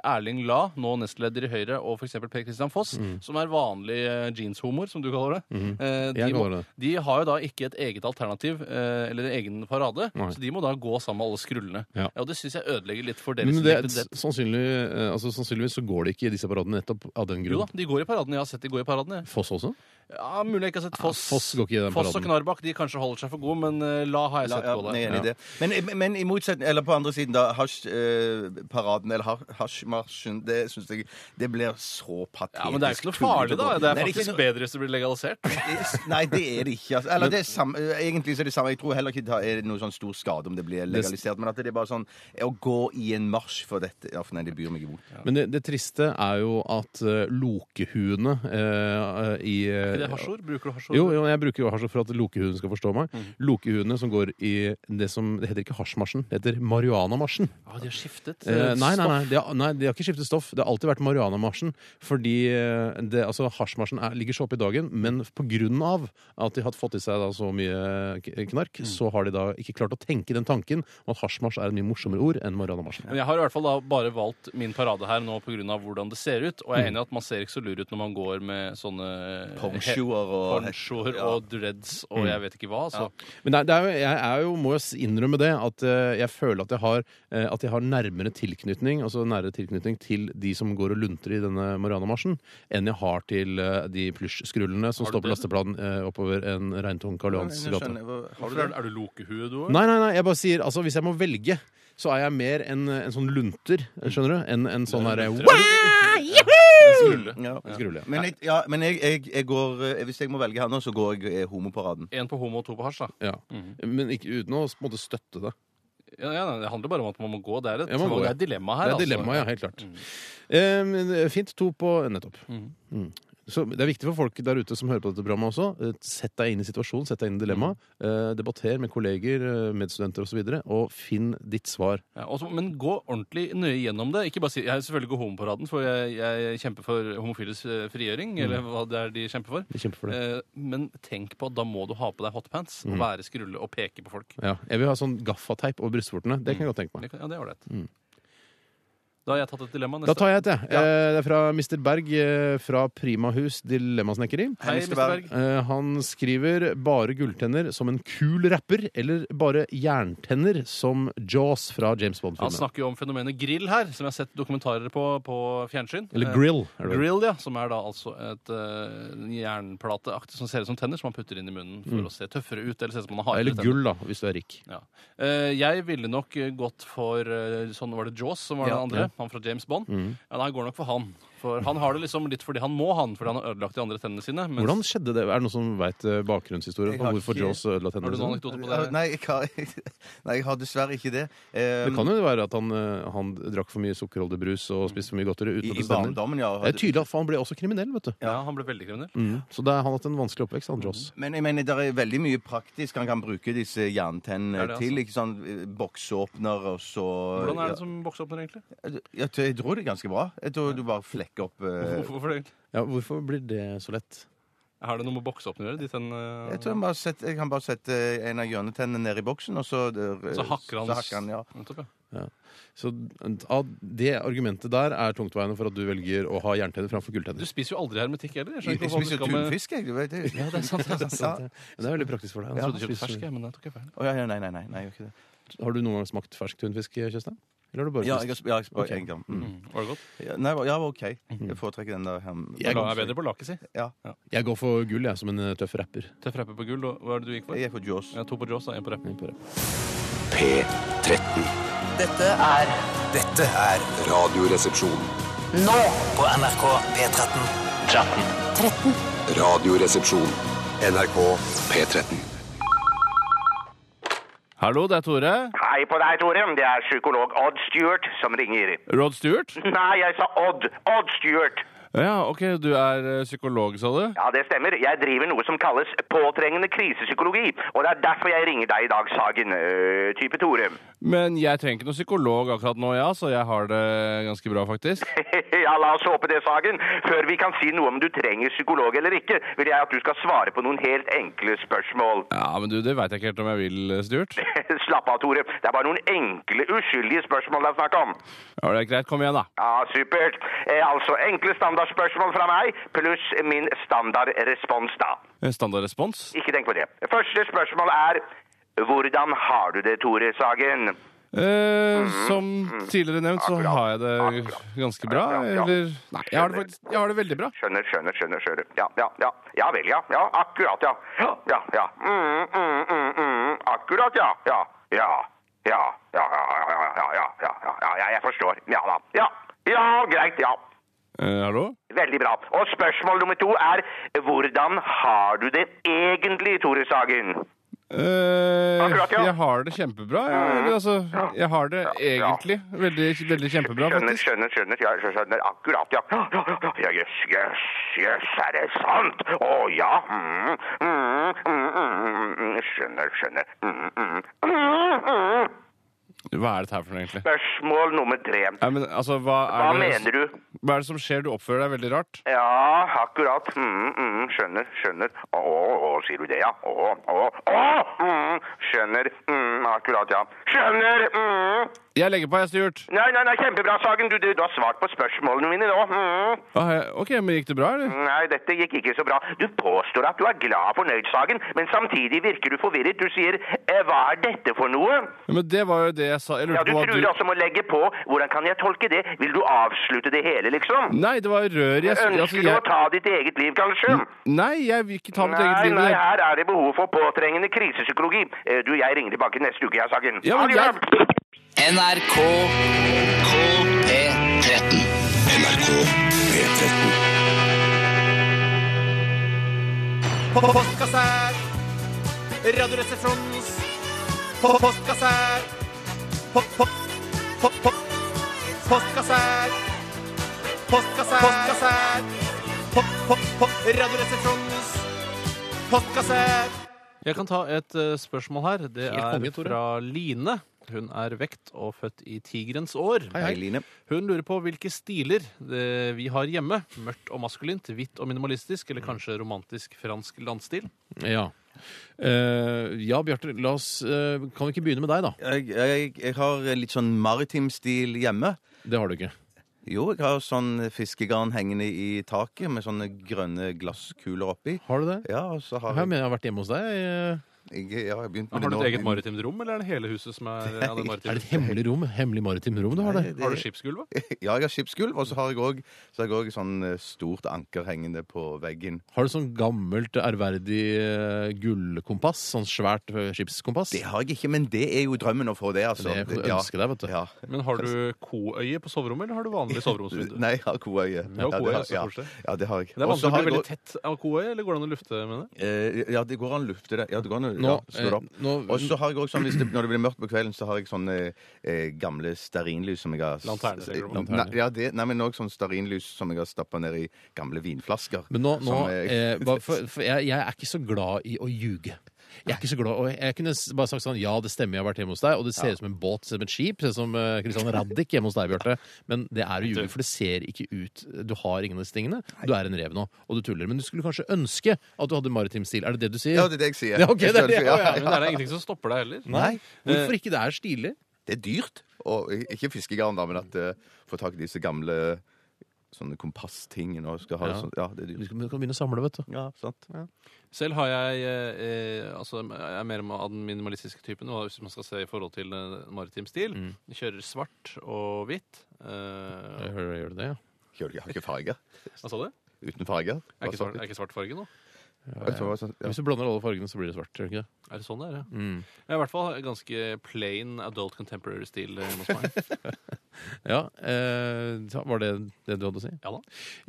Erling La, nå nestleder i Høyre, og f.eks. Per Christian Foss,
Mm.
som er vanlig eh, jeanshomoer, som du kaller det.
Mhm.
Eh, De,
Jeg
må,
kaller det.
de har jo da ikke et eget alternativ eh, eller en egen parade,
Nei.
så de må da gå sammen med alle skrullene.
Ja.
Og det syns jeg ødelegger litt for deres
Men det,
identitet.
sannsynlig, eh, altså, sannsynligvis så går det ikke i disse paradene nettopp av den
Jo da,
grunn.
de går i paraden. Jeg har sett de går i paraden. Jeg.
Foss også?
Ja, Mulig jeg ikke har sett Foss.
Foss går ikke i den
Foss og
paraden.
Knarbakk de kanskje holder seg for gode, men eh, La har jeg
La-
sett
ja,
gå
jeg er enig i
der.
det. Men, men i motsetning, eller på andre siden, da, hasjparaden, eller har- hasjmarsjen, det syns jeg det blir så patetisk.
Ja, Men det er ikke noe
tullete
farlig, da.
og-
Det er
Nei,
faktisk
ikke noe-
bedre hvis det blir legalisert.
Nei, det er det ikke. Altså. Eller
Men-
det er samme, egentlig så er det samme. Jeg tror heller ikke det er noe sånn stor skade om det blir legalisert, men at det er bare sånn Å gå i en marsj for dette ja, for Nei, det byr meg imot.
Men det, det triste er jo at eh, lokehuene eh, i
Er ikke det hasjord? Bruker du hasjord? Mhm.
Jo, jo, jeg bruker jo hasjord for at lokehuene skal forstå meg. Lokehuene som går i det som Det heter ikke hasjmarsjen, det heter marihuanamarsjen.
Ja, Ah, de har skiftet
Eh,
eh,
nei, nei,
stoff.
nei, de har, nei, de har ikke skiftet stoff. Det har alltid vært marihuanamarsjen. Fordi eh, det, altså, hasjmarsjen er, ligger så oppe i dagen, men pga. at de har fått i seg da, så mye k- knark,
Mm.
så har de da ikke klart å tenke den tanken om at hasjmarsj er et mye morsommere ord enn marihuanamarsjen.
Men jeg har i hvert fall da bare valgt min parade her nå pga. hvordan det ser ut. Og jeg er
Mm.
enig i at man ser ikke så lur ut når man går med sånne
Ponchoer og-
ponchoer
ja.
og dreads og
Mm.
jeg vet ikke hva. altså. Så.
Men det er, det er, jo- jeg er jo, må jo s- innrømme det, at eh, jeg føler at jeg har, eh, at jeg har nærmere tilknytning altså nærere tilknytning til de som går og lunter i denne Marianamarsjen, enn jeg har til eh, de plysjskrullene som
Har du
står på
det?
lasteplanen eh, oppover en regntung Karl Johans
Jeg
gate.
skjønner. Hva- har du det? Er du lokehue, du òg?
Nei, nei, nei, jeg bare sier, altså hvis jeg må velge, så er jeg mer en, en sånn lunter, skjønner du, enn en sånn herre
Skrulle. Ja.
Skrulle, ja.
Men, jeg, ja, men jeg, jeg, jeg går eh, Hvis jeg må velge her nå, så går jeg eh, homoparaden.
Én på homo og to på hasj, da.
Ja. Men ikke, uten å på en måte støtte det.
Ja, ja, nei, det handler bare om at man må gå. Det er et,
Jeg må gå,
det
ja.
er et dilemma her. altså. Mm.
Det er et dilemma, ja, helt klart. Eh, men, eh, fint. To på nettopp. Mm. Så Det er viktig for folk der ute som hører på dette programmet også. eh, Sett deg inn i situasjonen, sett deg inn i dilemmaet.
Mm.
Eh, debatter med kolleger, eh, medstudenter osv., og, så videre, og finn ditt svar.
Ja, og så- Altså, men gå ordentlig nøye gjennom det. Ikke bare si, Jeg er selvfølgelig gå homoparaden, for jeg, jeg kjemper for homofiles eh, frigjøring.
Mm.
Eller hva det er de kjemper for.
De kjemper for
Eh, men tenk på at da må du ha på deg hotpants og
Mm.
være skrulle og peke på folk.
Ja. Jeg vil ha sånn gaffateip over brystvortene. Det kan jeg godt tenke
Mm.
meg.
Det kan- Ja, det er ålreit.
Mm.
Da har jeg tatt et dilemma.
Da tar jeg et, jeg. Eh, Det er fra Mr. Berg eh, fra Primahus Dilemmasnekkeri.
Hei, Mr. Berg.
Eh, Han skriver bare gulltenner som en kul rapper, eller bare jerntenner som Jaws fra James
Han
Bond-filmen.
snakker jo om fenomenet grill her, som jeg har sett dokumentarer på på fjernsyn.
Eller
Eh,
grill, er det vel?
Grill, ja. Som er da altså et eh, en jernplateaktig som ser ut som tenner, som man putter inn i munnen for
Mm.
å se tøffere ut. Eller se ut som man har hardere
Eller
tenner.
gull, da, hvis du er rik.
Ja. Eh, jeg ville nok eh, gått for eh, sånn var det Jaws, som var
Ja.
den andre.
Ja.
Han fra James Bond.
Mm.
Ja, nei, jeg går nok for han. For han har det liksom litt fordi han må, han. Fordi han har ødelagt de andre tennene sine. mens-
Hvordan skjedde det? Er det noen som veit bakgrunnshistorien
Jeg
på
har
hvorfor
ikke-
Jaws ødela
Har
tennene sånn.
du noen
sine?
anekdote på
Ja,
det?
Nei, jeg har, nei, jeg har dessverre ikke det. Eh,
Det kan jo være at han, eh, han drakk for mye sukkerholdig
Mm.
brus og spiste for mye godteri.
I-
uten
i
at det stemmer.
barndommen, ja,
Det
hadde-
er tydelig at for han ble også kriminell, vet du.
Ja, han ble veldig kriminell. Mm.
Mm. Så det, er- han har hatt en vanskelig oppvekst, han Jaws.
Men jeg mener, det er veldig mye praktisk han kan bruke disse jerntennene
Er det
til.
altså?
Ikke sånn eh, Bokseåpner og så
Hvordan er det som bokseåpner, egentlig?
ja, jeg, jeg tror det er ganske bra. Jeg tror du bare flekker opp eh,
Hvorfor det? egentlig?
Ja, hvorfor blir det så lett?
Har det noe med bokseåpner å gjøre? De tenn-
Jeg tror jeg, bare setter, jeg kan bare sette eh, en av hjørnetennene ned i boksen, og så eh,
Så hakker han
så hakker han ja.
Nettopp, ja.
Ja. Så eh, av det argumentet der er tungtveiende for at du velger å ha jerntenner framfor
Du
gulltenner.
spiser jo aldri hermetikk heller.
Jeg spiser jo tunfisk,
jeg. Du vet det.
Ja, det er sant. Det er, sant.
Ja. Men det er veldig praktisk for deg.
Jeg trodde du
Ja,
kjøpte
spiser-
fersk, jeg, men jeg tok jeg feil.
Å, ja, ja, nei, nei, nei, nei, jeg gjør ikke det.
Har du noen gang smakt fersk tunfisk, Kjøstheim? Eller har du bare
Ja,
spist?
jeg har sp- ja, jeg
Ok. Mm.
har okay. en gang. Mm.
Var det godt?
Ja, nei, ja, det var OK. Jeg foretrekker den der. Hem,
Jeg går- Jeg er bedre
på laket, si.
Ja.
Jeg går for gull, jeg, som en eh, tøff rapper.
Tøff rapper på gull. og Hva er det du gikk for?
Jeg gikk for Jaws.
Ja, to på Jaws og én på rapp.
P13.
Dette er
Dette er
Radioresepsjon.
nå
på NRK P13.
13.
Radioresepsjon. NRK P13.
Hallo, det er Tore.
Hei på deg, Tore. Det er psykolog Odd Stewart som ringer.
Rod Stewart.
Nei, jeg sa Odd. Odd Stewart.
Ja, OK, du er eh, psykolog, sa du?
Ja, det stemmer. Jeg driver noe som kalles påtrengende krisepsykologi. Og det er derfor jeg ringer deg i dag, Sagen. Øh, type Tore.
Men jeg trenger ikke noen psykolog akkurat nå, ja, så jeg har det ganske bra, faktisk.
ja, la oss håpe det, Sagen. Før vi kan si noe om du trenger psykolog eller ikke, vil jeg at du skal svare på noen helt enkle spørsmål.
Ja, men du, det veit jeg ikke helt om jeg vil, eh, Stuart.
Slapp av, Tore. Det er bare noen enkle, uskyldige spørsmål det er snakk om.
Ja, det er greit. Kom igjen, da.
Ja, supert. Eh, altså, enkle standardspørsmål fra meg, pluss min standardrespons da.
Eh, Standardrespons.
Ikke tenk på det. Første spørsmål er, hvordan har du det, Tore Sagen?
Eh,
Mhm,
som tidligere nevnt, så har jeg det ganske bra. Eller Nei, jeg har det faktisk jeg har det veldig bra.
Skjønner, skjønner, skjønner, skjønner. Ja, ja, ja. Ja vel, ja. Ja, akkurat, ja. Ja, ja, ja. Mm, mm, mm, mm. Akkurat, ja. Ja, ja, ja, ja, ja, ja, ja, ja, ja, ja, ja, ja, ja, jeg forstår. Ja, da. Ja, ja, greit, ja.
Eh, hallo?
Veldig bra. Og spørsmål nummer to er, hvordan har du det egentlig, Tore Sagen?
Eh,
Akkurat, ja. Mhm.
Jeg har det kjempebra. Jeg, eller, altså, jeg har det egentlig veldig, veldig kjempebra,
Skjønner,
faktisk.
skjønner, skjønner. Ja, jeg skjønner akkurat, ja. Ja, ja, ja, ja. Jøss, jøss, jøss, er det sant? Å ja. Mm, mm, mm, mm, mm, skjønner, skjønner. Mm, mm, mm, mm.
Hva er dette her for noe, egentlig?
Spørsmål nummer tre.
Nei, men, altså, hva er
Hva
det,
mener du?
Hva er det som skjer? Du oppfører deg veldig rart.
Ja, akkurat. Mm, mm, skjønner, skjønner. Å, å, å, sier du det, ja? Å, å, å! Mm, skjønner. Mm, akkurat, ja. Skjønner! Mm.
Jeg legger på, jeg, Stuart.
Nei, nei, nei, kjempebra, Sagen. Du, du, du har svart på spørsmålene mine nå. Mm.
Ah, jeg- OK, men gikk det bra, eller?
Nei, dette gikk ikke så bra. Du påstår at du er glad og fornøyd, Sagen, men samtidig virker du forvirret. Du sier eh, 'hva er dette for noe'?
Ja, Men det var jo det jeg sa. Jeg
Ja, Du
lurte
altså
på hva
truer også med å legge på. Hvordan kan jeg tolke det? Vil du avslutte det hele, liksom?
Nei, det var rør jeg
Ønsker du
altså, jeg- Mm.
å ta ditt eget liv, kanskje?
Nei, jeg vil ikke ta mitt eget
Nei,
liv.
nei,
jeg-
her er det behov for påtrengende krisepsykologi. Eh, Du, jeg ringer tilbake neste uke, jeg, Sagen.
Ja, men
Ha det bra.
NRK P13.
NRK P13.
Postkasse her. Radioresepsjonens Po- postkasse her. Po- po- po- po- Postkasse her. Postkasse her. Postkasse her. Po- po- po- Radioresepsjonens postkasse her.
Jeg kan ta et eh, spørsmål her. Det
Helt
er
konge, Tore.
fra Line. Hun er vekt og født i tigerens år.
Hei, hei. Hei,
Hun lurer på hvilke stiler eh, vi har hjemme. Mørkt og maskulint, hvitt og minimalistisk, eller kanskje romantisk fransk landstil.
Ja. Eh, ja, Bjarte, la oss eh, Kan vi ikke begynne med deg, da?
Jeg, jeg, jeg har litt sånn maritim stil hjemme.
Det har du ikke.
Jo, jeg har sånn fiskegarn hengende i taket med sånne grønne glasskuler oppi.
Har du det?
Ja, og så har
Her
jeg,
mener jeg har vært hjemme hos deg. eh.
jeg, ja, jeg har begynt med
Har du
det nå.
et eget maritimt rom, eller er det hele huset som er ja, det er
Er det
maritimt?
et hemmelig rom? Hemmelig maritimt rom du har der?
Har du skipsgulv? da?
Ja, jeg har skipsgulv, og så har jeg òg sånn eh, stort anker hengende på veggen.
Har du sånn gammelt, ærverdig eh, gullkompass? Sånn svært eh, skipskompass?
Det har jeg ikke, men det er jo drømmen å få det, altså.
Det kan du ønske deg, vet du.
Ja.
Men har du koøye på soverommet, eller har du vanlig soveromsvindu?
Nei, jeg har koøye.
Ja, koøye er
har-
også
ja.
koselig.
ja, det har jeg.
Det er
Og
vanskelig å
så
bli
har jeg
veldig
også-
tett av koøye, eller går det an å lufte med det?
Eh, Ja, det går an å lufte det. Ja, det går an å
Nå,
ja, slå det opp.
eh, nå-
og så har jeg også sånn, hvis det, når det blir mørkt på kvelden, så har jeg sånne eh, gamle stearinlys som jeg har eh,
Lanterner, tenker du på.
Nei, ja, det, nei, men også sånn stearinlys som jeg har stappa ned i gamle vinflasker.
Men nå, nå
Som, eh,
eh, hva- for, for jeg, jeg er ikke så glad i å ljuge. Jeg er ikke så glad og Jeg kunne s- bare sagt sånn Ja, det stemmer, jeg har vært hjemme hos deg, og det ser ut som en båt, ser ut som et skip, ser ut som eh, Christian Raddik hjemme hos deg, Bjarte. Men det er jo juling, for det ser ikke ut Du har ingen av disse tingene. Du er en rev nå, og du tuller. Men du skulle kanskje ønske at du hadde maritim stil. Er det det du sier?
Ja, det er det jeg sier.
Ja, ok, det er det.
Jeg
Ja,
skjønner,
ja,
ja.
men
Men er det ingenting som stopper deg heller?
Nei.
Hvorfor ikke? Det er stilig.
Det er dyrt. Og ik- ikke fiskegarn, da, men at eh, få tak i disse gamle sånne kompasstingene og skal ha
Ja.
ja. sånn Ja, det er dyrt.
Du kan begynne å samle, vet du.
Ja, sant.
Selv har jeg eh, eh, altså, jeg er mer av den minimalistiske typen, og hvis man skal se i forhold til eh, maritim stil.
Mm.
Jeg Kjører svart og hvitt. eh,
Jeg hører, gjør du det, ja?
Kjører ikke, har ikke farger.
Hva sa du?
Uten farger.
Er ikke svart, er ikke svart farge nå?
Hvis du blander alle fargene, så blir det svart. Gjør det ikke det?
Er det sånn det er, ja?
Mm.
Jeg er i hvert fall ganske plain adult contemporary stil eh, hos meg.
Ja, eh, ta- Var det det du hadde å si?
Ja da.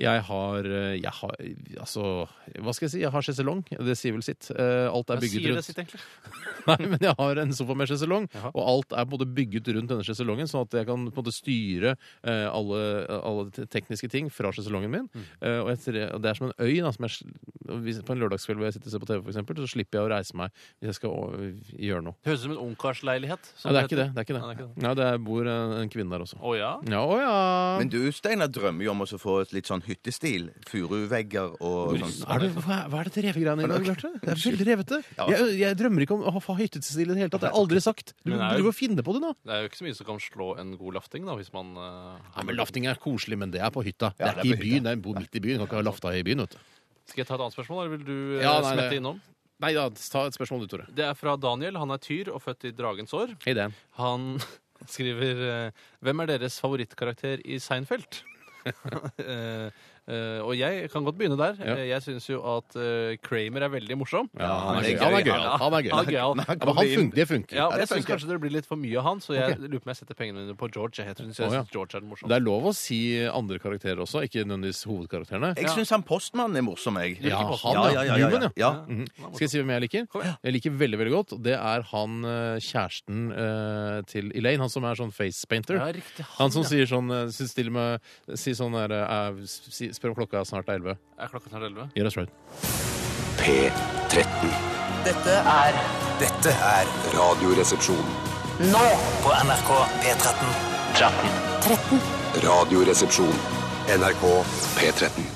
Jeg har, eh, jeg har Altså, hva skal jeg si? Jeg har sjeselong. Det sier vel sitt. Eh, alt er
Hva
bygget
sier det
rundt
sitt, egentlig?
Nei, men jeg har en sofa med sjeselong, og alt er på en måte bygget rundt denne sjeselongen, sånn at jeg kan på en måte styre eh, alle, alle te- tekniske ting fra sjeselongen min.
Mm.
Eh, og jeg, tre- og det er som en øy. Da, som jeg, sl- og hvis, på en lørdagskveld hvor jeg sitter og ser på TV, for eksempel, så slipper jeg å reise meg hvis jeg skal å, gjøre noe.
Det høres ut som en ungkarsleilighet.
Nei, det er ikke det. det, er ikke det.
Nei, det er ikke det.
Nei, det er- bor en, en kvinne der også.
Å ja?
Ja, å ja.
Men du, Steinar, drømmer jo om å så få et litt sånn hyttestil. Furuvegger og sånn.
Er det, hva, er- sånn. hva er dette revegreiene i dag, Bjarte? Det er veldig revete.
Ja.
Jeg, jeg drømmer ikke om å ha hyttestil i det hele tatt. Det har jeg aldri sagt. Du
Men det er jo-
driver og finner på det nå.
Det er jo ikke så mye som kan slå en god lafting, da, hvis man eh,
Ja, men Lafting er koselig, men det er på hytta.
Ja,
det er ikke i byen. Det er bo midt i byen. Kan ikke ha lafta i byen, vet du.
Skal jeg ta et annet spørsmål, eller vil du eh,
Ja, nei,
smette
det-
innom?
Nei da, ta et spørsmål Sånn du, Tore.
Det er fra Daniel. Han er tyr og født i dragens år.
Hei, Dan.
Han skriver eh, Hvem er deres favorittkarakter i Seinfeld? Eh, eh, og jeg kan godt begynne der.
Ja.
Eh, Jeg syns jo at eh, Kramer er veldig morsom.
Ja, han er gøy. Han er gøyal. Han er gøyal.
gøyal.
Når han Ja, men han kommer inn- fun- det funker.
Ja,
Ja,
jeg
det
syns
funker.
kanskje det blir litt for mye av han, så jeg lurer på om jeg setter pengene mine på George. Jeg tror- jeg synes
Å, ja.
George er den
Det
morsomste.
er lov å si andre karakterer også, ikke nødvendigvis hovedkarakterene.
Jeg syns han postmannen er morsom, jeg.
Ja, han,
ja, ja, ja, ja.
Human,
ja.
Mhm. Skal jeg si hvem jeg liker? Jeg liker veldig veldig godt. Det er han eh, kjæresten eh, til Elaine, han som er sånn face painter.
Ja, riktig, han,
han, som
ja.
sier sånn eh, synes til og med, sier sånn der, eh, er- si- Spør om klokka er snart er elleve.
Er klokka snart elleve?
Yeah, that's right.
P13.
Dette er
Dette er
Radioresepsjon.
nå
på NRK P13.
13.
Radioresepsjon. NRK P13.